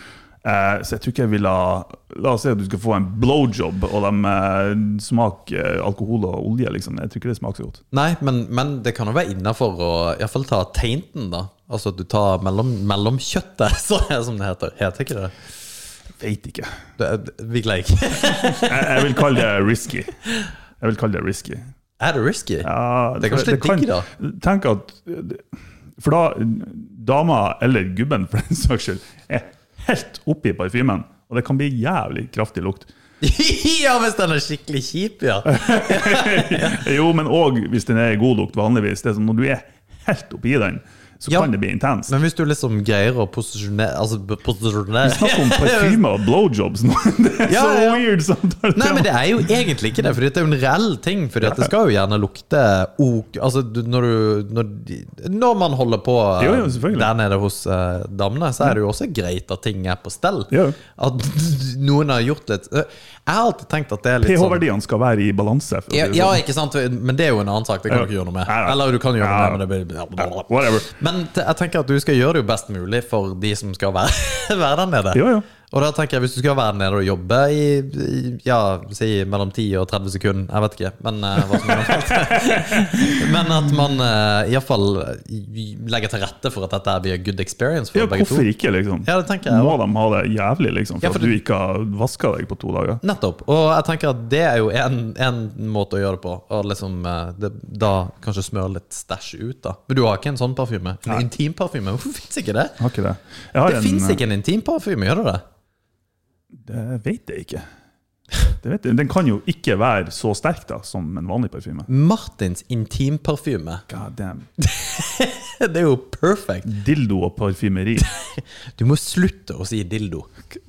[SPEAKER 4] Eh, så jeg tror ikke jeg ville ha- La oss si at du skal få en blowjob, og de eh, smaker eh, alkohol og olje. liksom. Jeg tror ikke det smaker så godt.
[SPEAKER 3] Nei, men, men det kan jo være innafor å iallfall ta teinten, da. Altså at du tar mellom, mellomkjøttet, [LAUGHS] så, som det heter. Heter ikke det
[SPEAKER 4] Veit ikke.
[SPEAKER 3] det? det- Vi gleder ikke. [LAUGHS]
[SPEAKER 4] Jeg, jeg vil kalle det risky. Jeg vil kalle det risky.
[SPEAKER 3] Er det risky?
[SPEAKER 4] Ja,
[SPEAKER 3] Det er kanskje litt digg, da.
[SPEAKER 4] Tenk at For da dama, eller gubben for den saks skyld, er helt oppi parfymen. Og det kan bli jævlig kraftig lukt.
[SPEAKER 3] [LAUGHS] [LAUGHS] ja, hvis den er skikkelig kjip,
[SPEAKER 4] [LAUGHS]
[SPEAKER 3] ja.
[SPEAKER 4] Jo, men òg hvis den er god lukt vanligvis. Det er sånn, Når du er helt oppi den, så
[SPEAKER 3] Ja.
[SPEAKER 4] kan det bli intenst.
[SPEAKER 3] Men hvis du liksom greier å posisjonere Altså posisjonere [LAUGHS]
[SPEAKER 4] Snakk om parfyme og blowjobs nå! [LAUGHS] Det er
[SPEAKER 3] Ja,
[SPEAKER 4] så
[SPEAKER 3] ja.
[SPEAKER 4] weird samtale.
[SPEAKER 3] Nei, men det er jo egentlig ikke det, for det er jo en reell ting. For det skal jo gjerne lukte ok Altså du- når du Når, de- når man holder på eh,
[SPEAKER 4] Jo, jo, selvfølgelig.
[SPEAKER 3] der nede hos eh, damene, så er det jo også greit at ting er på stell.
[SPEAKER 4] Ja.
[SPEAKER 3] At [LAUGHS] noen har gjort litt Jeg har alltid tenkt at det er litt sånn
[SPEAKER 4] pH-verdiene skal være i balanse. for å si
[SPEAKER 3] ja,
[SPEAKER 4] det
[SPEAKER 3] ja,
[SPEAKER 4] sånn.
[SPEAKER 3] ikke sant? Men det er jo en annen sak. Det kan du ikke gjøre noe med.
[SPEAKER 4] Nei, nei.
[SPEAKER 3] Eller du kan gjøre noe
[SPEAKER 4] Ja.
[SPEAKER 3] med, men det blir
[SPEAKER 4] Whatever.
[SPEAKER 3] men t- jeg tenker at du skal gjøre det jo best mulig for de som skal være, [LAUGHS] være der nede.
[SPEAKER 4] Ja, ja.
[SPEAKER 3] Og da tenker jeg hvis du skal være der nede og jobbe i, i ja, si mellom 10 og 30 sekunder, jeg vet ikke, men eh, hva som er
[SPEAKER 4] [LAUGHS]
[SPEAKER 3] normalt. Men at man uh, iallfall eh, legger til rette for at dette her blir a good experience for
[SPEAKER 4] Ja,
[SPEAKER 3] begge to.
[SPEAKER 4] hvorfor ikke, liksom?
[SPEAKER 3] Ja, det tenker jeg
[SPEAKER 4] Må de ha det jævlig, liksom, for,
[SPEAKER 3] Ja, for
[SPEAKER 4] at du
[SPEAKER 3] det-
[SPEAKER 4] ikke har vaska deg på to dager?
[SPEAKER 3] Nettopp. Og jeg tenker at det er jo én måte å gjøre det på. Og liksom, eh, det, da kanskje smøre litt stæsj ut, da. Men du har ikke en sånn parfyme? En intimparfyme? Hvorfor fins ikke det?
[SPEAKER 4] Jeg Har ikke det. Jeg har
[SPEAKER 3] Det
[SPEAKER 4] en- eh,
[SPEAKER 3] fins ikke en intimparfyme, gjør det det?
[SPEAKER 4] Det vet jeg ikke. Det vet jeg. Den kan jo ikke være så
[SPEAKER 3] Mm.
[SPEAKER 4] sterk da, som en vanlig parfyme.
[SPEAKER 3] Martins intimparfyme.
[SPEAKER 4] God damn.
[SPEAKER 3] [LAUGHS] Det er jo perfect.
[SPEAKER 4] Dildo og parfymeri.
[SPEAKER 3] [LAUGHS] Du må slutte å si dildo.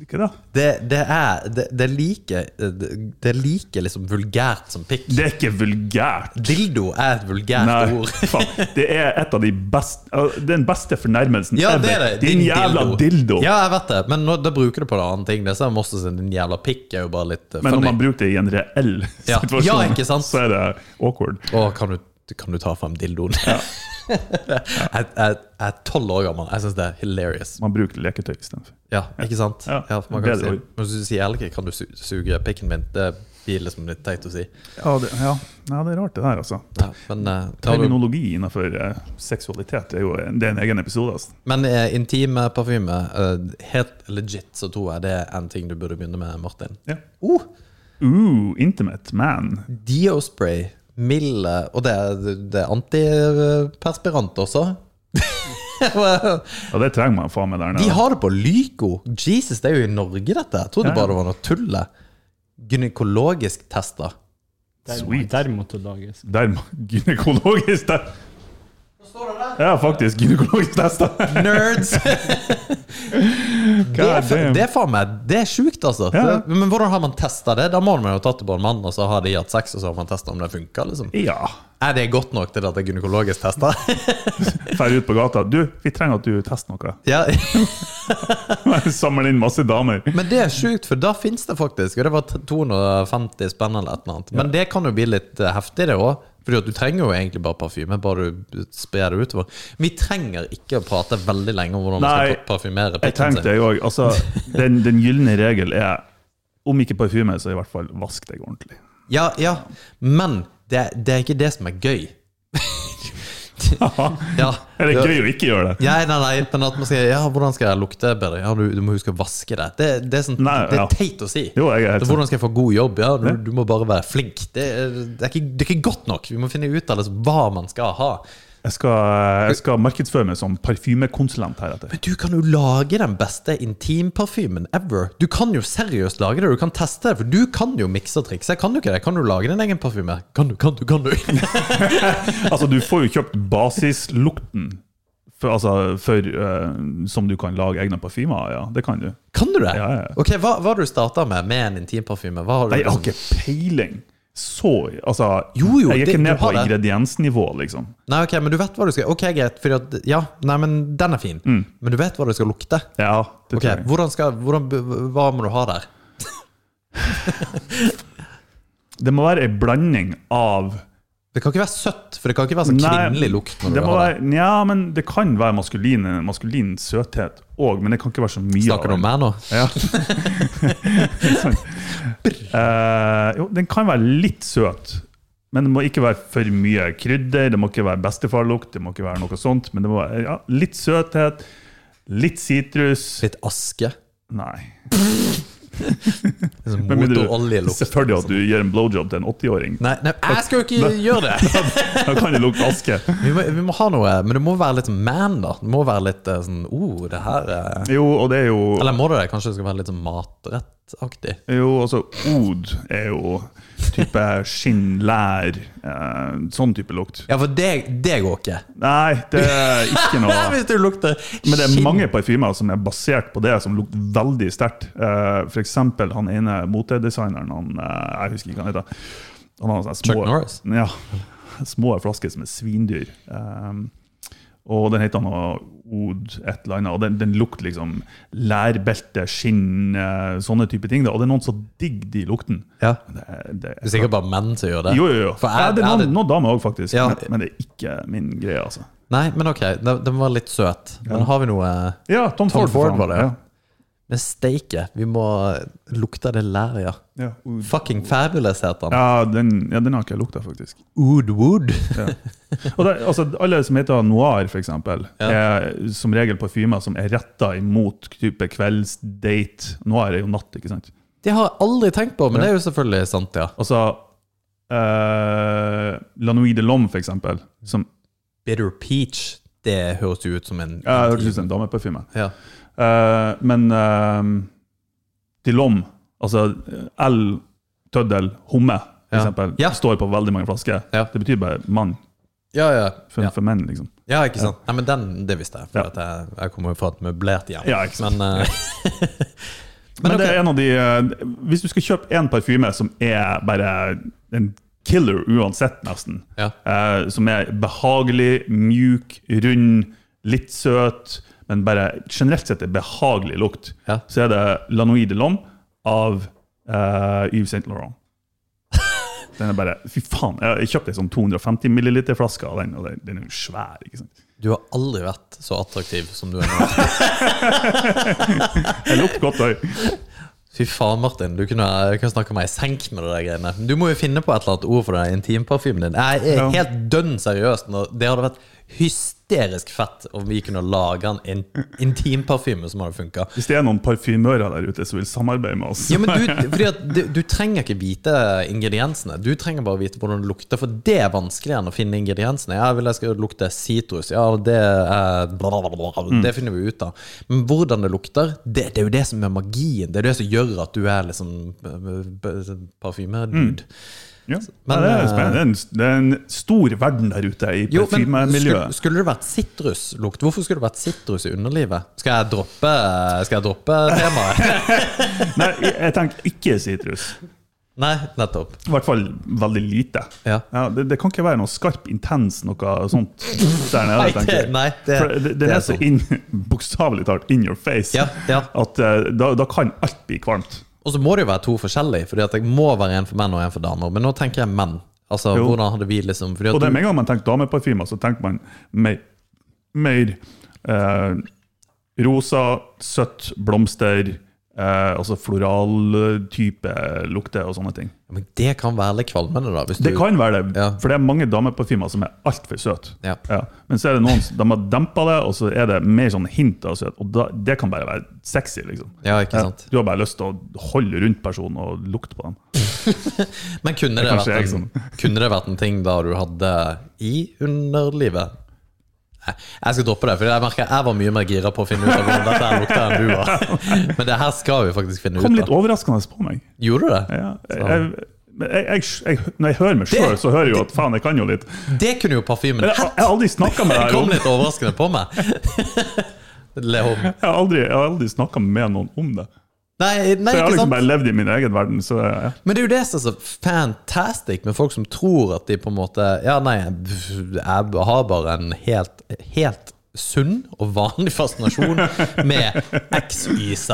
[SPEAKER 4] Hva da?
[SPEAKER 3] Det, det er det, det er like det, det er like liksom vulgært som pikk.
[SPEAKER 4] Det er ikke vulgært.
[SPEAKER 3] Dildo er et vulgært
[SPEAKER 4] Nei, [LAUGHS]
[SPEAKER 3] ord. [LAUGHS]
[SPEAKER 4] faen. Det er et av de beste uh, Den beste fornærmelsen
[SPEAKER 3] Ja,
[SPEAKER 4] ever.
[SPEAKER 3] det er det.
[SPEAKER 4] Din, jævla dildo.
[SPEAKER 3] Ja, jeg vet det, men nå, da bruker du på det andre ting. Det som er Mosse sin din jævla pikk er jo bare litt eh,
[SPEAKER 4] Men når
[SPEAKER 3] funny.
[SPEAKER 4] man bruker det i en reell
[SPEAKER 3] Ja.
[SPEAKER 4] situasjon,
[SPEAKER 3] Ja, ikke sant?
[SPEAKER 4] så er det awkward.
[SPEAKER 3] Å, kan du, kan du ta frem dildoen? [LAUGHS] jeg, jeg, jeg er tolv år gammel. Jeg syns det er hilarious.
[SPEAKER 4] Man bruker leketøy istedenfor.
[SPEAKER 3] Ja, ikke sant?
[SPEAKER 4] Ja,
[SPEAKER 3] for man kan
[SPEAKER 4] bedre
[SPEAKER 3] si,
[SPEAKER 4] ord.
[SPEAKER 3] men hvis du sier elg, kan du su suge pikken min? Det blir liksom litt teit å si.
[SPEAKER 4] Ja, det- ja. ja, det er rart, det der, altså.
[SPEAKER 3] Ja, men eh, tar du,
[SPEAKER 4] Terminologi innenfor eh, seksualitet er jo det er en egen episode. Altså.
[SPEAKER 3] men eh, intim eh, parfyme, eh, helt legit, så tror jeg det er en ting du burde begynne med, Martin.
[SPEAKER 4] Ja.
[SPEAKER 3] Oh,
[SPEAKER 4] Ooh, intimate man.
[SPEAKER 3] Diospray, mild eh, Og det er, det er antiperspirant også. [LAUGHS]
[SPEAKER 4] Ja, det trenger man faen meg der
[SPEAKER 3] De
[SPEAKER 4] nede.
[SPEAKER 3] har det på Lyco! Jesus, det er jo i Norge, dette. Jeg trodde
[SPEAKER 4] Ja, ja.
[SPEAKER 3] bare det var noe tull. Gynekologisk tester.
[SPEAKER 4] Sweet.
[SPEAKER 5] Dermatologisk.
[SPEAKER 4] Der må- gynekologisk der. Ja, faktisk. Gynekologisk tester.
[SPEAKER 3] [LAUGHS] Nerds! Det er, fa- det er faen meg Det er sjukt, altså.
[SPEAKER 4] Ja.
[SPEAKER 3] Det- Men hvordan har man testa det? Da må man jo ha tatt det på en mann, og så har de hatt sex, og så har man testa om det funka. Liksom.
[SPEAKER 4] Ja.
[SPEAKER 3] Er det godt nok til at det er gynekologisk testa?
[SPEAKER 4] Drar ut på gata. Du, vi trenger at du tester noe.
[SPEAKER 3] [LAUGHS]
[SPEAKER 4] [LAUGHS]
[SPEAKER 3] ja.
[SPEAKER 4] Samler inn masse damer.
[SPEAKER 3] Men det er sjukt, for da fins det faktisk, og det var t- 250 spenn eller et eller annet. Men det kan jo bli litt eh, heftig, det òg. Fordi at du trenger jo egentlig bare parfyme, bare du sprer det utover. Vi trenger ikke å prate veldig lenge om hvordan man
[SPEAKER 4] Nei,
[SPEAKER 3] skal pa- parfymere
[SPEAKER 4] Jeg
[SPEAKER 3] pikken
[SPEAKER 4] tenkte
[SPEAKER 3] sin.
[SPEAKER 4] jeg òg. Altså, den, den gylne regel er om ikke parfyme, så i hvert fall vask deg ordentlig. [LAUGHS]
[SPEAKER 3] Ja, ja. Men det, det er ikke det som er gøy. ja.
[SPEAKER 4] Er det gøy å ikke gjøre det?
[SPEAKER 3] Ja, nei, nei, men at man sier ja, 'hvordan skal jeg lukte bedre'? Ja, du, du må huske å vaske det. Det, det er, sånn,
[SPEAKER 4] Nei,
[SPEAKER 3] det
[SPEAKER 4] ja.
[SPEAKER 3] er teit å si.
[SPEAKER 4] Jo, jeg er helt sånn.
[SPEAKER 3] Det er hvordan skal jeg få god jobb? Ja, du, du må bare være flink. Det, er- det, er ikke, det er ikke godt nok. Vi må finne ut av det, hva man skal ha.
[SPEAKER 4] Jeg skal, jeg skal markedsføre meg som parfymekonsulent heretter.
[SPEAKER 3] Men du kan jo lage den beste intimparfymen ever. Du kan jo seriøst lage det, du kan teste det. For du kan jo mikse og trikse. Kan du ikke det? Kan du lage din egen parfyme? Kan du, kan du, kan du? [LAUGHS]
[SPEAKER 4] Altså, du får jo kjøpt basislukten for, altså, for, eh, som du kan lage egne parfymer av. Ja, det kan du.
[SPEAKER 3] Kan du det?
[SPEAKER 4] Ja, ja.
[SPEAKER 3] Ok, Hva hva har du starta med med en intimparfyme? Hva har du
[SPEAKER 4] Nei, jeg har
[SPEAKER 3] liksom-
[SPEAKER 4] ikke peiling. Så Altså,
[SPEAKER 3] Jo, jo,
[SPEAKER 4] jeg er
[SPEAKER 3] det-
[SPEAKER 4] ikke
[SPEAKER 3] du
[SPEAKER 4] ned på
[SPEAKER 3] har det.
[SPEAKER 4] ingrediensnivå, liksom.
[SPEAKER 3] Nei, ok, men du vet hva du skal Ok, greit, fordi at Ja, nei, men den er fin.
[SPEAKER 4] Mm.
[SPEAKER 3] Men du vet hva du skal lukte.
[SPEAKER 4] Ja, det
[SPEAKER 3] Ok,
[SPEAKER 4] tror jeg.
[SPEAKER 3] hvordan skal hvordan, Hva må du ha der?
[SPEAKER 4] Det må være ei blanding av
[SPEAKER 3] Det kan ikke være søtt, for det kan ikke være så
[SPEAKER 4] Nei,
[SPEAKER 3] Altså, kvinnelig lukt. når
[SPEAKER 4] det
[SPEAKER 3] du
[SPEAKER 4] må
[SPEAKER 3] har det.
[SPEAKER 4] være, Ja, men det kan være maskulin, maskulin søthet òg, men det kan ikke være så mye
[SPEAKER 3] Snakker du om
[SPEAKER 4] av det.
[SPEAKER 3] meg nå?
[SPEAKER 4] Ja. sånn. Eh, jo, den kan være litt søt, men det må ikke være for mye krydder. Det må ikke være bestefarlukt, det må ikke være noe sånt. Men det må være ja, litt søthet, litt sitrus
[SPEAKER 3] Litt aske?
[SPEAKER 4] Nei.
[SPEAKER 3] Liksom
[SPEAKER 4] Men mindre du-
[SPEAKER 3] Motoroljelukt?
[SPEAKER 4] Selvfølgelig at du gir en blowjob til en 80-åring.
[SPEAKER 3] Nei, nei, jeg skal jo ikke gjøre
[SPEAKER 4] [LAUGHS]
[SPEAKER 3] det!
[SPEAKER 4] Da kan det lukte aske.
[SPEAKER 3] Vi må, vi må ha noe, men det må være litt man, da. Det må være litt eh, sånn oh, det her eh».
[SPEAKER 4] Jo, og det er jo
[SPEAKER 3] Eller må det det? Kanskje det skal være litt sånn matrettaktig?
[SPEAKER 4] Jo, altså od er jo type skinn, lær, eh, sånn type lukt.
[SPEAKER 3] Ja, for det, det går ikke.
[SPEAKER 4] Nei, det er ikke noe
[SPEAKER 3] [LAUGHS] Hvis du lukter
[SPEAKER 4] Men det er
[SPEAKER 3] skinn-
[SPEAKER 4] mange parfymer som er basert på det, som lukter veldig sterkt. Eh, for eksempel han ene motedesigneren, han eh, jeg husker ikke hva han heter. Han har sånne små,
[SPEAKER 3] Chuck Norris?
[SPEAKER 4] Ja. Små flasker som er svindyr. Eh, og den heter noe Od et eller annet. Og den, den lukter liksom lærbelte, skinn, eh, sånne type ting. Da. Og det er noen som digger de lukten.
[SPEAKER 3] Ja.
[SPEAKER 4] Det, er- det,
[SPEAKER 3] Det er sikkert bare menn som gjør det.
[SPEAKER 4] jo, jo, jo.
[SPEAKER 3] For
[SPEAKER 4] ja,
[SPEAKER 3] er,
[SPEAKER 4] det
[SPEAKER 3] er
[SPEAKER 4] er noen,
[SPEAKER 3] det,
[SPEAKER 4] noen damer òg, faktisk.
[SPEAKER 3] Ja.
[SPEAKER 4] Men, men det er ikke min greie, altså.
[SPEAKER 3] nei, men ok, den, den var litt søt. Men har vi noe
[SPEAKER 4] Ja, Tom,
[SPEAKER 3] Tom
[SPEAKER 4] Ford, for
[SPEAKER 3] Ford
[SPEAKER 4] faen.
[SPEAKER 3] var det, ja. Men steike, vi må lukte det læret, ja.
[SPEAKER 4] Ja. Ja, Oud.
[SPEAKER 3] Fucking fabulous heter han.
[SPEAKER 4] Ja, den, ja, den har ikke jeg lukta, faktisk.
[SPEAKER 3] Ood Wood.
[SPEAKER 4] Og det, altså, alle som heter noir, for eksempel, er som regel parfymer som er retta imot type kveldsdate. Noir er jo natt, ikke sant?
[SPEAKER 3] Det har jeg aldri tenkt på, men det er jo selvfølgelig sant, ja.
[SPEAKER 4] Altså eh, La Nuit de Lom, for eksempel, som
[SPEAKER 3] Bitter Peach, det høres jo ut som en
[SPEAKER 4] ja, det hørtes ut som en dameparfyme.
[SPEAKER 3] Ja.
[SPEAKER 4] Eh, men eh, de Lom, altså L, tøddel, homme, for
[SPEAKER 3] Ja.
[SPEAKER 4] eksempel,
[SPEAKER 3] Ja.
[SPEAKER 4] står på veldig mange flasker.
[SPEAKER 3] Ja.
[SPEAKER 4] Det betyr bare mann,
[SPEAKER 3] Ja, ja.
[SPEAKER 4] for,
[SPEAKER 3] ja.
[SPEAKER 4] for menn, liksom.
[SPEAKER 3] Ja, ikke sant. Nei, men den, det visste jeg, for
[SPEAKER 4] Ja.
[SPEAKER 3] at jeg, jeg kommer jo fra et møblert hjem.
[SPEAKER 4] Ja, ikke sant.
[SPEAKER 3] Men, eh,
[SPEAKER 4] Men, det
[SPEAKER 3] ok.
[SPEAKER 4] er en av de eh, Hvis du skal kjøpe én parfyme som er bare en killer uansett, nesten,
[SPEAKER 3] Ja.
[SPEAKER 4] eh, som er behagelig, mjuk, rund, litt søt, men bare generelt sett er behagelig lukt,
[SPEAKER 3] Ja.
[SPEAKER 4] så er det Lanois de Lom av eh, Yves
[SPEAKER 3] [LAUGHS]
[SPEAKER 4] Saint Laurent. Den er bare, fy faen, Jeg kjøpte en sånn 250 ml-flaske av den, og den, den er jo svær. ikke sant?
[SPEAKER 3] Du har aldri vært så attraktiv som du er
[SPEAKER 4] [LAUGHS]
[SPEAKER 3] nå.
[SPEAKER 4] Jeg lukter godt òg.
[SPEAKER 3] Fy faen, Martin. Du kunne, jeg kunne snakke meg i senk med det der greiene. Du må jo finne på et eller annet ord for den intimparfymen din. Jeg er
[SPEAKER 4] Ja.
[SPEAKER 3] helt dønn seriøs. nå. Det hadde vært hysterisk fett om vi kunne lage en in- intimparfyme som hadde funka.
[SPEAKER 4] Hvis det er noen parfymører der ute som vil samarbeide med oss
[SPEAKER 3] Ja, men du, fordi at du, du trenger ikke vite ingrediensene. Du trenger bare vite hvordan det lukter, for det er vanskeligere enn å finne ingrediensene. Ja, vil jeg skal lukte sitrus? Ja, det er bla, bla, bla, bla.
[SPEAKER 4] Mm.
[SPEAKER 3] Det finner vi ut av. Men hvordan det lukter, det, det er jo det som er magien. Det er det som gjør at du er liksom eh, eh, parfymedude.
[SPEAKER 4] Mm. Ja.
[SPEAKER 3] Men,
[SPEAKER 4] ja, det, er
[SPEAKER 3] eh,
[SPEAKER 4] spennende. Det er en, det er en stor verden der ute
[SPEAKER 3] Jo,
[SPEAKER 4] i
[SPEAKER 3] men skulle,
[SPEAKER 4] parfymemiljøet.
[SPEAKER 3] skulle det vært sitruslukt? Hvorfor skulle det vært sitrus i underlivet? Skal jeg droppe, skal jeg droppe temaet? [LAUGHS]
[SPEAKER 4] Nei, jeg- jeg tenker ikke sitrus.
[SPEAKER 3] Nei, nettopp.
[SPEAKER 4] I hvert fall veldig lite.
[SPEAKER 3] Ja.
[SPEAKER 4] det, det kan ikke være noe skarp, intens noe sånt der nede.
[SPEAKER 3] Nei,
[SPEAKER 4] tenker
[SPEAKER 3] det-
[SPEAKER 4] jeg.
[SPEAKER 3] nei, det-
[SPEAKER 4] For det,
[SPEAKER 3] det
[SPEAKER 4] det
[SPEAKER 3] er
[SPEAKER 4] er så
[SPEAKER 3] sant.
[SPEAKER 4] inn, [LAUGHS] bokstavelig talt in your face
[SPEAKER 3] Ja, ja.
[SPEAKER 4] at eh, da, da kan alt bli kvalmt.
[SPEAKER 3] Og så må det jo være to forskjellige, fordi at det må være en for menn og en for damer. Men nå tenker jeg menn. Altså,
[SPEAKER 4] Jo.
[SPEAKER 3] hvordan hadde vi liksom fordi at
[SPEAKER 4] Og det er
[SPEAKER 3] du,
[SPEAKER 4] med en gang man tenker dameparfymer, så tenker man mer, mer eh, rosa, søtt, blomster, eh, altså floraltype lukter og sånne ting.
[SPEAKER 3] Men det kan være litt kvalmende, da. Hvis
[SPEAKER 4] Det
[SPEAKER 3] du,
[SPEAKER 4] kan være det,
[SPEAKER 3] Ja.
[SPEAKER 4] for det er mange dameparfymer som er altfor søte.
[SPEAKER 3] Ja.
[SPEAKER 4] Men så er det noen som de har dempa det, og så er det mer sånn hint av søt. Og da, det kan bare være sexy, liksom.
[SPEAKER 3] Ja, ikke sant.
[SPEAKER 4] Du har bare lyst til å holde rundt personen og lukte på dem.
[SPEAKER 3] Men kunne det,
[SPEAKER 4] er
[SPEAKER 3] vært
[SPEAKER 4] kanskje
[SPEAKER 3] en,
[SPEAKER 4] [LAUGHS]
[SPEAKER 3] kunne det vært en ting da du hadde i underlivet? Nei, Jeg skal droppe det, for jeg merker jeg var mye mer gira på å finne ut av hvordan dette her lukter enn du
[SPEAKER 4] [LAUGHS]
[SPEAKER 3] var. Men det her skal vi faktisk finne
[SPEAKER 4] Kom
[SPEAKER 3] ut
[SPEAKER 4] litt
[SPEAKER 3] av.
[SPEAKER 4] overraskende på meg.
[SPEAKER 3] Gjorde du det?
[SPEAKER 4] Ja, jeg, jeg, men jeg, jeg, jeg, når jeg hører meg sjøl, så hører jeg jo at faen, jeg kan jo litt.
[SPEAKER 3] Det kunne jo parfymen
[SPEAKER 4] Jeg, jeg har aldri snakka med
[SPEAKER 3] Det
[SPEAKER 4] deg
[SPEAKER 3] kom
[SPEAKER 4] om
[SPEAKER 3] litt overraskende på meg. [LAUGHS] Le om.
[SPEAKER 4] jeg har aldri, jeg har aldri snakket med noen om det.
[SPEAKER 3] Nei, nei,
[SPEAKER 4] Så jeg har
[SPEAKER 3] ikke
[SPEAKER 4] liksom
[SPEAKER 3] sant?
[SPEAKER 4] bare levd i min egen verden. Så ja.
[SPEAKER 3] Men det er jo det som er så fantastic med folk som tror at de på en måte Ja, nei, jeg har bare en helt, helt sunn og vanlig fascinasjon med XYZ.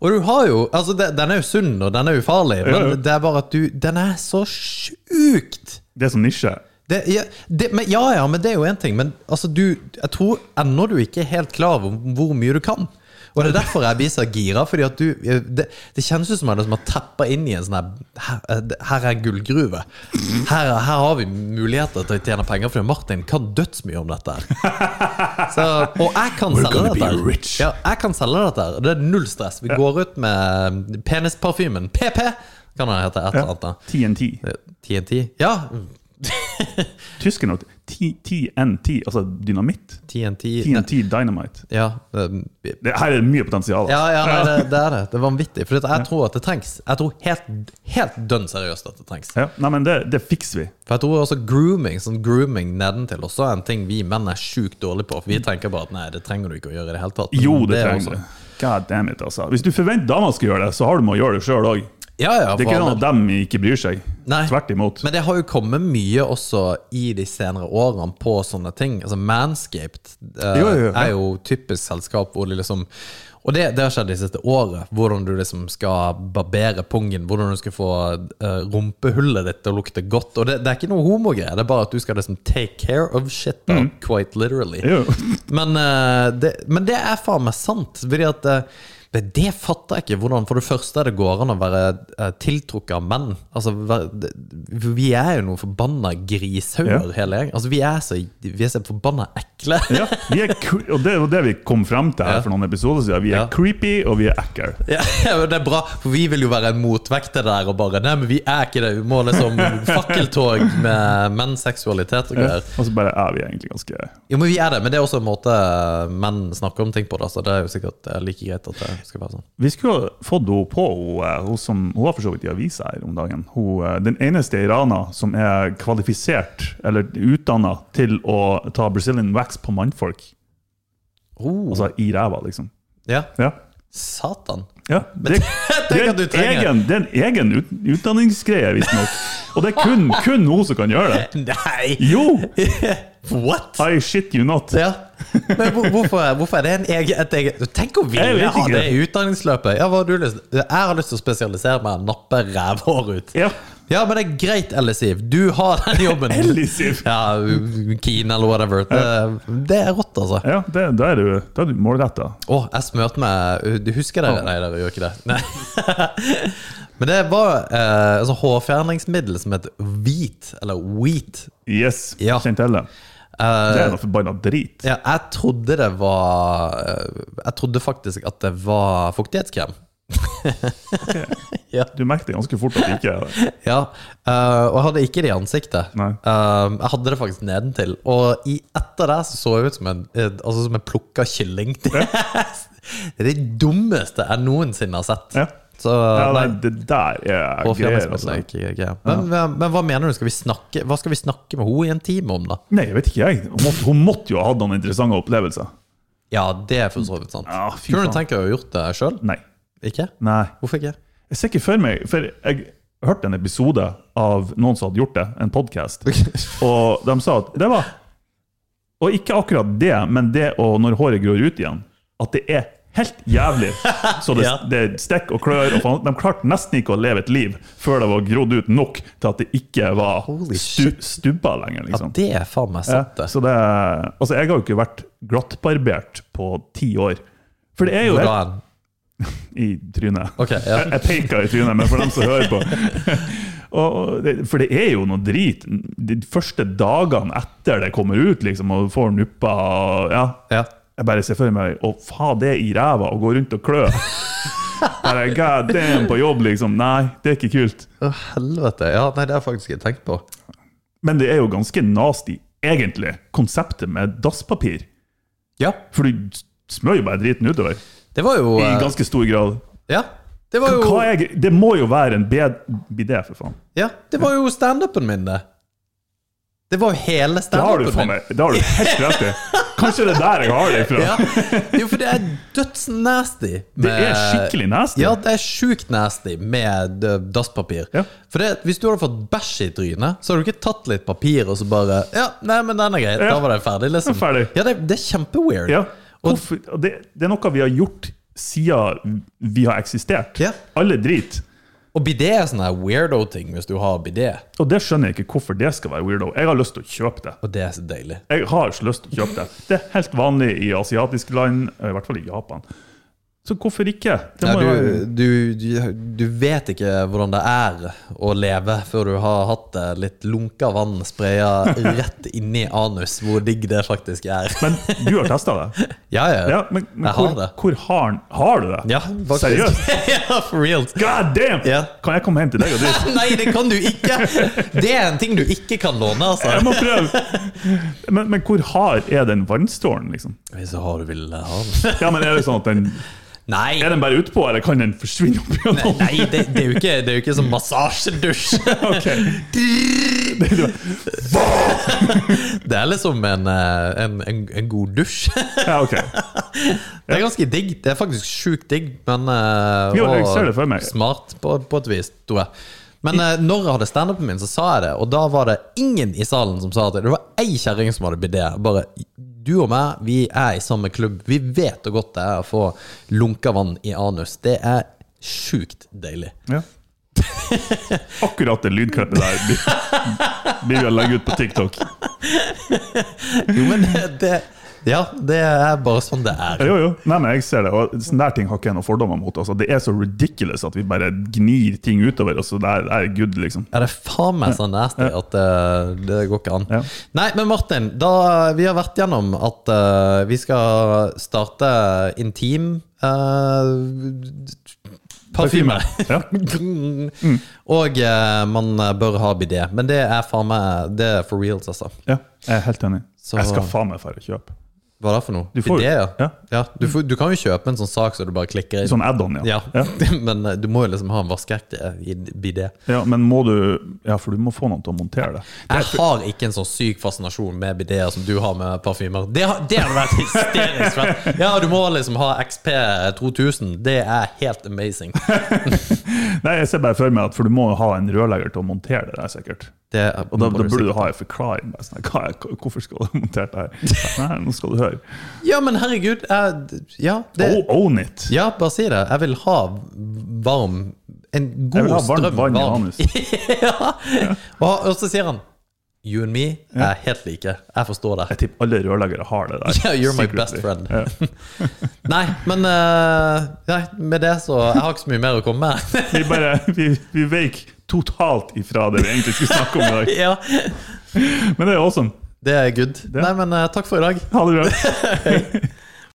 [SPEAKER 3] Og du har jo Altså, det, den er jo sunn, og den er ufarlig,
[SPEAKER 4] Ja, ja.
[SPEAKER 3] men det er bare at du Den er så sjukt
[SPEAKER 4] Det er sånn nisje.
[SPEAKER 3] det, ja, det, men, ja, ja, men det er jo én ting. Men altså, du, jeg tror ennå du ikke er helt klar over hvor mye du kan. Og det er derfor jeg blir så gira. Fordi at du, eh, det, det kjennes ut som om jeg liksom har tappa inn i en sånn her Her, her er gullgruve. Her, er- her har vi muligheter til å tjene penger, fordi Martin kan dødsmye om dette. her så, Og jeg kan selge
[SPEAKER 4] gonna be
[SPEAKER 3] dette. her.
[SPEAKER 4] rich.
[SPEAKER 3] Ja, jeg kan selge dette. her, og Det er null stress. Vi går ut med penisparfymen. PP kan den hete. Et eller annet. da.
[SPEAKER 4] TNT.
[SPEAKER 3] TNT. Ja,
[SPEAKER 4] Tyskerne har T- TNT, altså dynamitt.
[SPEAKER 3] TNT.
[SPEAKER 4] TNT Dynamite.
[SPEAKER 3] Ja, det-
[SPEAKER 4] Det, her er det mye potensial.
[SPEAKER 3] ja, ja nei, det, det er det. Det er vanvittig. For jeg tror at det trengs. Jeg tror helt, helt dønn seriøst at det trengs.
[SPEAKER 4] Ja, Nei, men det, det fikser vi.
[SPEAKER 3] For jeg tror også grooming sånn grooming nedentil også er en ting vi menn er sjukt dårlige på. For vi tenker bare at nei, det trenger du ikke å gjøre i Mm, det hele tatt. Men
[SPEAKER 4] Mm. Jo, det
[SPEAKER 3] er
[SPEAKER 4] trenger
[SPEAKER 3] også-
[SPEAKER 4] vi. God damn it, altså. Hvis du forventer dama skal gjøre det, så har du med å gjøre det sjøl òg.
[SPEAKER 3] Ja, ja,
[SPEAKER 4] Det er
[SPEAKER 3] for
[SPEAKER 4] ikke
[SPEAKER 3] all
[SPEAKER 4] noe
[SPEAKER 3] del.
[SPEAKER 4] at dem ikke bryr seg.
[SPEAKER 3] Nei.
[SPEAKER 4] Tvert imot.
[SPEAKER 3] Men det har jo kommet mye også i de senere årene på sånne ting. Altså Manscaped eh,
[SPEAKER 4] Jo, jo, jo.
[SPEAKER 3] er jo typisk selskap hvor de liksom og det, det har skjedd det siste året, hvordan du liksom skal barbere pungen. Hvordan du skal få eh, rumpehullet ditt til å lukte godt. Og det, det er ikke noe homogreie, det er bare at du skal liksom take care of shit. Da, Quite literally.
[SPEAKER 4] Mm. Jo.
[SPEAKER 3] Men, eh, det, men det er faen meg sant. Fordi at eh, det, det fatter jeg ikke. Hvordan For det første er det går an å være eh, tiltrukket av menn. Altså, vær- det- vi er jo noen forbanna grishauger,
[SPEAKER 4] Ja.
[SPEAKER 3] hele gjengen. Altså, vi er så, vi er så forbanna ekle.
[SPEAKER 4] Ja, vi er, cre- og det er jo det vi kom frem til
[SPEAKER 3] Ja.
[SPEAKER 4] her for noen episoder siden. Vi er
[SPEAKER 3] Ja.
[SPEAKER 4] creepy, og vi er ekle.
[SPEAKER 3] [LAUGHS] Ja, men det er bra, for vi vil jo være en motvekt til det der og bare Nei, men vi er ikke det. Vi må liksom fakkeltog med menns seksualitet og greier.
[SPEAKER 4] Og så bare er vi egentlig ganske
[SPEAKER 3] Jo, men vi er det. Men det er også en måte menn snakker om ting på, da, så det er jo sikkert eh, like greit at det skal være sånn.
[SPEAKER 4] Vi skulle ha fått henne på, hun, eh, hun som hun var for så vidt i avisa her om dagen. Hun, eh, den eneste iraner som er kvalifisert, eller utdanna, til å ta Brazilian wax på mannfolk.
[SPEAKER 3] Oh,
[SPEAKER 4] Altså i ræva, liksom.
[SPEAKER 3] ja.
[SPEAKER 4] Ja.
[SPEAKER 3] Satan.
[SPEAKER 4] ja. Det, det,
[SPEAKER 3] [LAUGHS] Tenk
[SPEAKER 4] er
[SPEAKER 3] at du
[SPEAKER 4] en
[SPEAKER 3] trenger
[SPEAKER 4] egen, det er en egen ut, utdanningsgreie, visstnok. Og det er kun,
[SPEAKER 3] [LAUGHS]
[SPEAKER 4] kun hun som kan gjøre [LAUGHS] det.
[SPEAKER 3] Nei!
[SPEAKER 4] Jo!
[SPEAKER 3] What?!
[SPEAKER 4] I shit you not.
[SPEAKER 3] Ja. Men hvor- hvorfor, hvorfor er det en egen, et eget Tenk å
[SPEAKER 4] Jeg
[SPEAKER 3] ville
[SPEAKER 4] vet
[SPEAKER 3] ha
[SPEAKER 4] ikke.
[SPEAKER 3] det i utdanningsløpet! Ja, hva har du lyst? Jeg har lyst til å spesialisere meg, nappe rævhår ut.
[SPEAKER 4] Ja.
[SPEAKER 3] Ja, men det er greit, Ellisiv. Du har den
[SPEAKER 4] [LAUGHS]
[SPEAKER 3] jobben.
[SPEAKER 4] Ellisiv.
[SPEAKER 3] Ja, Keen eller whatever. Det, det er rått, altså.
[SPEAKER 4] Ja, det, da er du, da er du målretta.
[SPEAKER 3] Å, jeg smurte meg Du husker dere? Nei, dere gjør ikke det. Nei. [LAUGHS] Men det var eh, altså, hårfjerningsmiddel som het Wheat, eller Wheat.
[SPEAKER 4] Yes,
[SPEAKER 3] Ja. Eh,
[SPEAKER 4] kjent til det. Det er noe forbanna drit.
[SPEAKER 3] Ja, jeg trodde det var eh, Jeg trodde faktisk at det var fuktighetskrem.
[SPEAKER 4] Du merket det ganske fort at det ikke er det.
[SPEAKER 3] Ja, eh, og jeg hadde ikke det i ansiktet.
[SPEAKER 4] Nei.
[SPEAKER 3] Eh, jeg hadde det faktisk nedentil. Og i etter det så, så jeg ut som en, eh, altså som en plukka kylling. [LAUGHS] Det er det dummeste jeg noensinne har sett.
[SPEAKER 4] Ja.
[SPEAKER 3] Så,
[SPEAKER 4] Ja,
[SPEAKER 3] nei,
[SPEAKER 4] nei, det der er
[SPEAKER 3] og
[SPEAKER 4] greier.
[SPEAKER 3] fjerningsmiddel
[SPEAKER 4] Altså.
[SPEAKER 3] er ikke greier. Men, men, men hva mener du? Skal vi snakke, hva skal vi snakke med henne i en time om, da?
[SPEAKER 4] Nei, jeg vet ikke jeg. Hun måtte, hun måtte jo ha hatt noen interessante opplevelser.
[SPEAKER 3] Ja, det er for så vidt sant.
[SPEAKER 4] Ja, fy
[SPEAKER 3] Kunne du
[SPEAKER 4] faen.
[SPEAKER 3] tenke deg å gjort det sjøl?
[SPEAKER 4] Nei.
[SPEAKER 3] Ikke?
[SPEAKER 4] Nei.
[SPEAKER 3] Hvorfor ikke?
[SPEAKER 4] [LAUGHS] Jeg ser ikke for meg For jeg hørte en episode av noen som hadde gjort det, en podkast, og de sa at det var Og ikke akkurat det, men det å når håret gror ut igjen, at det er helt jævlig. Så det,
[SPEAKER 3] [LAUGHS] Ja.
[SPEAKER 4] det stikker og klør. Og faen, de klarte nesten ikke å leve et liv før det var grodd ut nok til at det ikke var
[SPEAKER 3] Holy
[SPEAKER 4] stu, stubber lenger.
[SPEAKER 3] Ja,
[SPEAKER 4] liksom.
[SPEAKER 3] det er faen meg sant,
[SPEAKER 4] Ja,
[SPEAKER 3] det.
[SPEAKER 4] Så det er, altså jeg har jo ikke vært glattbarbert på ti år. For det er jo
[SPEAKER 3] Hvor da
[SPEAKER 4] helt
[SPEAKER 3] hen?
[SPEAKER 4] i trynet.
[SPEAKER 3] Ok, ja.
[SPEAKER 4] Jeg, jeg peker i trynet, men for dem som
[SPEAKER 3] [LAUGHS]
[SPEAKER 4] hører på. Og, og det, for det er jo noe drit. De første dagene etter det kommer ut, liksom, og du får nupper og ja.
[SPEAKER 3] Ja.
[SPEAKER 4] Jeg bare ser for meg å ha det i ræva og gå rundt og klø. Bare god damn på jobb, liksom. Nei, det er ikke kult.
[SPEAKER 3] Å, helvete. Ja, nei, det har jeg faktisk ikke tenkt på.
[SPEAKER 4] Men det er jo ganske nasty, egentlig, konseptet med dasspapir.
[SPEAKER 3] Ja,
[SPEAKER 4] For du smører jo bare driten utover.
[SPEAKER 3] det var jo
[SPEAKER 4] I
[SPEAKER 3] eh,
[SPEAKER 4] ganske stor grad.
[SPEAKER 3] Ja, det var jo,
[SPEAKER 4] Hva er, det må jo være en bed- bidé, for faen.
[SPEAKER 3] ja, det var jo standupen min, det. Det var jo hele
[SPEAKER 4] Det har du
[SPEAKER 3] standupen
[SPEAKER 4] faen
[SPEAKER 3] min.
[SPEAKER 4] meg. Det har du helt rett i. Kanskje det er der jeg har det fra. [LAUGHS]
[SPEAKER 3] Ja, jo, for det er dødsnasty.
[SPEAKER 4] Det er skikkelig nasty.
[SPEAKER 3] Ja, det er sjukt nasty med eh, dasspapir.
[SPEAKER 4] Ja.
[SPEAKER 3] For det, hvis du hadde fått bæsj i trynet, så hadde du ikke tatt litt papir og så bare Ja, nei, men den er grei.
[SPEAKER 4] Ja.
[SPEAKER 3] Da var det ferdig, liksom.
[SPEAKER 4] Den er ferdig.
[SPEAKER 3] Ja, det, det er kjempeweird.
[SPEAKER 4] Ja. Hvorfor- og Det, det er noe vi har gjort siden vi har eksistert.
[SPEAKER 3] Ja.
[SPEAKER 4] Alle drit.
[SPEAKER 3] Og bidé er sånn her weirdo-ting hvis du har bidé,
[SPEAKER 4] Og det skjønner jeg ikke hvorfor det skal være weirdo. Jeg har lyst til å kjøpe det.
[SPEAKER 3] og det er så deilig.
[SPEAKER 4] Jeg har ikke lyst til å kjøpe det. Det er helt vanlig i asiatiske land, eh, i hvert fall i Japan. Så hvorfor ikke? Det
[SPEAKER 3] Ja,
[SPEAKER 4] må jo være-
[SPEAKER 3] du, du, du, du vet ikke hvordan det er å leve før du har hatt det litt lunka vann spraya
[SPEAKER 4] [LAUGHS]
[SPEAKER 3] rett inni anus, hvor digg det faktisk er.
[SPEAKER 4] Men du har
[SPEAKER 3] [LAUGHS]
[SPEAKER 4] testa det?
[SPEAKER 3] Ja, ja.
[SPEAKER 4] Ja, men, men
[SPEAKER 3] jeg har
[SPEAKER 4] hvor,
[SPEAKER 3] det.
[SPEAKER 4] hvor har, den- har du det?
[SPEAKER 3] Ja, faktisk.
[SPEAKER 4] Seriøst?
[SPEAKER 3] [LAUGHS] ja, for real.
[SPEAKER 4] God damn!
[SPEAKER 3] Ja.
[SPEAKER 4] Kan jeg komme hjem til deg og dit?
[SPEAKER 3] Nei, det kan du ikke! Det er en ting du ikke kan låne,
[SPEAKER 4] Jeg
[SPEAKER 3] altså.
[SPEAKER 4] må prøve! Men, men hvor hard er den vannstålen, liksom?
[SPEAKER 3] Hvis du har du vil ha den.
[SPEAKER 4] Ja, men Er det sånn at den, [LAUGHS]
[SPEAKER 3] Nei,
[SPEAKER 4] er den bare utpå, eller kan den forsvinne opp gjennom?
[SPEAKER 3] nei det, det, er jo ikke, det er jo ikke som massasjedusj.
[SPEAKER 4] [LAUGHS] Ok.
[SPEAKER 3] Det er liksom en, eh, en, en, en god dusj. [LAUGHS]
[SPEAKER 4] Ja, ok.
[SPEAKER 3] Det er ganske digg. Det er faktisk sjukt digg, men eh,
[SPEAKER 4] Jo, jeg
[SPEAKER 3] og
[SPEAKER 4] ser det for meg.
[SPEAKER 3] Smart på, på et vis, tror jeg. Men uh, når jeg hadde standupen min, så sa jeg det, og da var det ingen i salen som sa det. Det var ei kjerring som hadde bidé. Bare du og meg, vi er i samme klubb. Vi vet hvor godt det er å få lunka vann i anus. Det er sjukt deilig.
[SPEAKER 4] Ja. Akkurat det lydklippet der blir- blir vi å legge ut på TikTok.
[SPEAKER 3] Jo, men det, det Ja, det er bare sånn det er.
[SPEAKER 4] Jo, jo. Nei, men jeg ser det. Og sånne der ting har ikke jeg noen fordommer mot. Altså. Det er så ridiculous at vi bare gnir ting utover. Altså. Det er, det er good, liksom.
[SPEAKER 3] Ja, det er faen meg så nasty at det, det går ikke an.
[SPEAKER 4] Ja.
[SPEAKER 3] Nei, men Martin, da eh, vi har vært gjennom at eh, vi skal starte intim eh, [LAUGHS] parfyme.
[SPEAKER 4] Ja. Mm.
[SPEAKER 3] Og eh, man bør ha bidé. Men det er faen meg Det er for reals, altså.
[SPEAKER 4] ja, jeg er helt enig.
[SPEAKER 3] Så-
[SPEAKER 4] Jeg skal faen meg dra og kjøpe.
[SPEAKER 3] Hva er det for noe?
[SPEAKER 4] Du får-
[SPEAKER 3] Ideer?
[SPEAKER 4] ja.
[SPEAKER 3] du, får, du kan jo kjøpe en sånn sak som du bare klikker inn.
[SPEAKER 4] Sånn add-on, ja.
[SPEAKER 3] ja. [LAUGHS] Men eh, du må jo liksom ha en vaskeekte idé.
[SPEAKER 4] Ja, Men må du Ja, for du må få noen til å montere det.
[SPEAKER 3] Jeg har ikke en sånn syk fascinasjon med bideer som du har med parfymer. Det har det hadde vært hysterisk fett! Ja, du må liksom ha XP 2000. Det er helt amazing.
[SPEAKER 4] Nei, jeg ser bare for meg at For du må jo ha en rørlegger til å montere det der, sikkert.
[SPEAKER 3] Det,
[SPEAKER 4] Og da, da burde du ha en forklaring. Bare sånn, hva, er- hvorfor skal du montere det her?
[SPEAKER 3] [LAUGHS]
[SPEAKER 4] Nei, nå skal du høre.
[SPEAKER 3] Ja, men herregud. Jeg, ja, det,
[SPEAKER 4] Oh, own it!
[SPEAKER 3] ja, bare si det. Jeg vil ha varm En god
[SPEAKER 4] Jeg vil ha
[SPEAKER 3] strøm
[SPEAKER 4] varmt vann i anus.
[SPEAKER 3] [LAUGHS] ja. Og, og så sier han You and me er helt like. Jeg forstår det.
[SPEAKER 4] Jeg tipper alle rørleggere har det der.
[SPEAKER 3] [LAUGHS] Ja, you're my
[SPEAKER 4] secretly.
[SPEAKER 3] best friend.
[SPEAKER 4] Ja.
[SPEAKER 3] Nei, men eh, nei, med det så Jeg har ikke så mye mer å komme med. [LAUGHS]
[SPEAKER 4] Vi bare, vi, vi veik totalt ifra det vi egentlig skulle snakke om i
[SPEAKER 3] [LAUGHS]
[SPEAKER 4] dag.
[SPEAKER 3] ja,
[SPEAKER 4] Men det er awesome.
[SPEAKER 3] det er good. Nei, men eh, takk for i dag.
[SPEAKER 4] Ha det bra.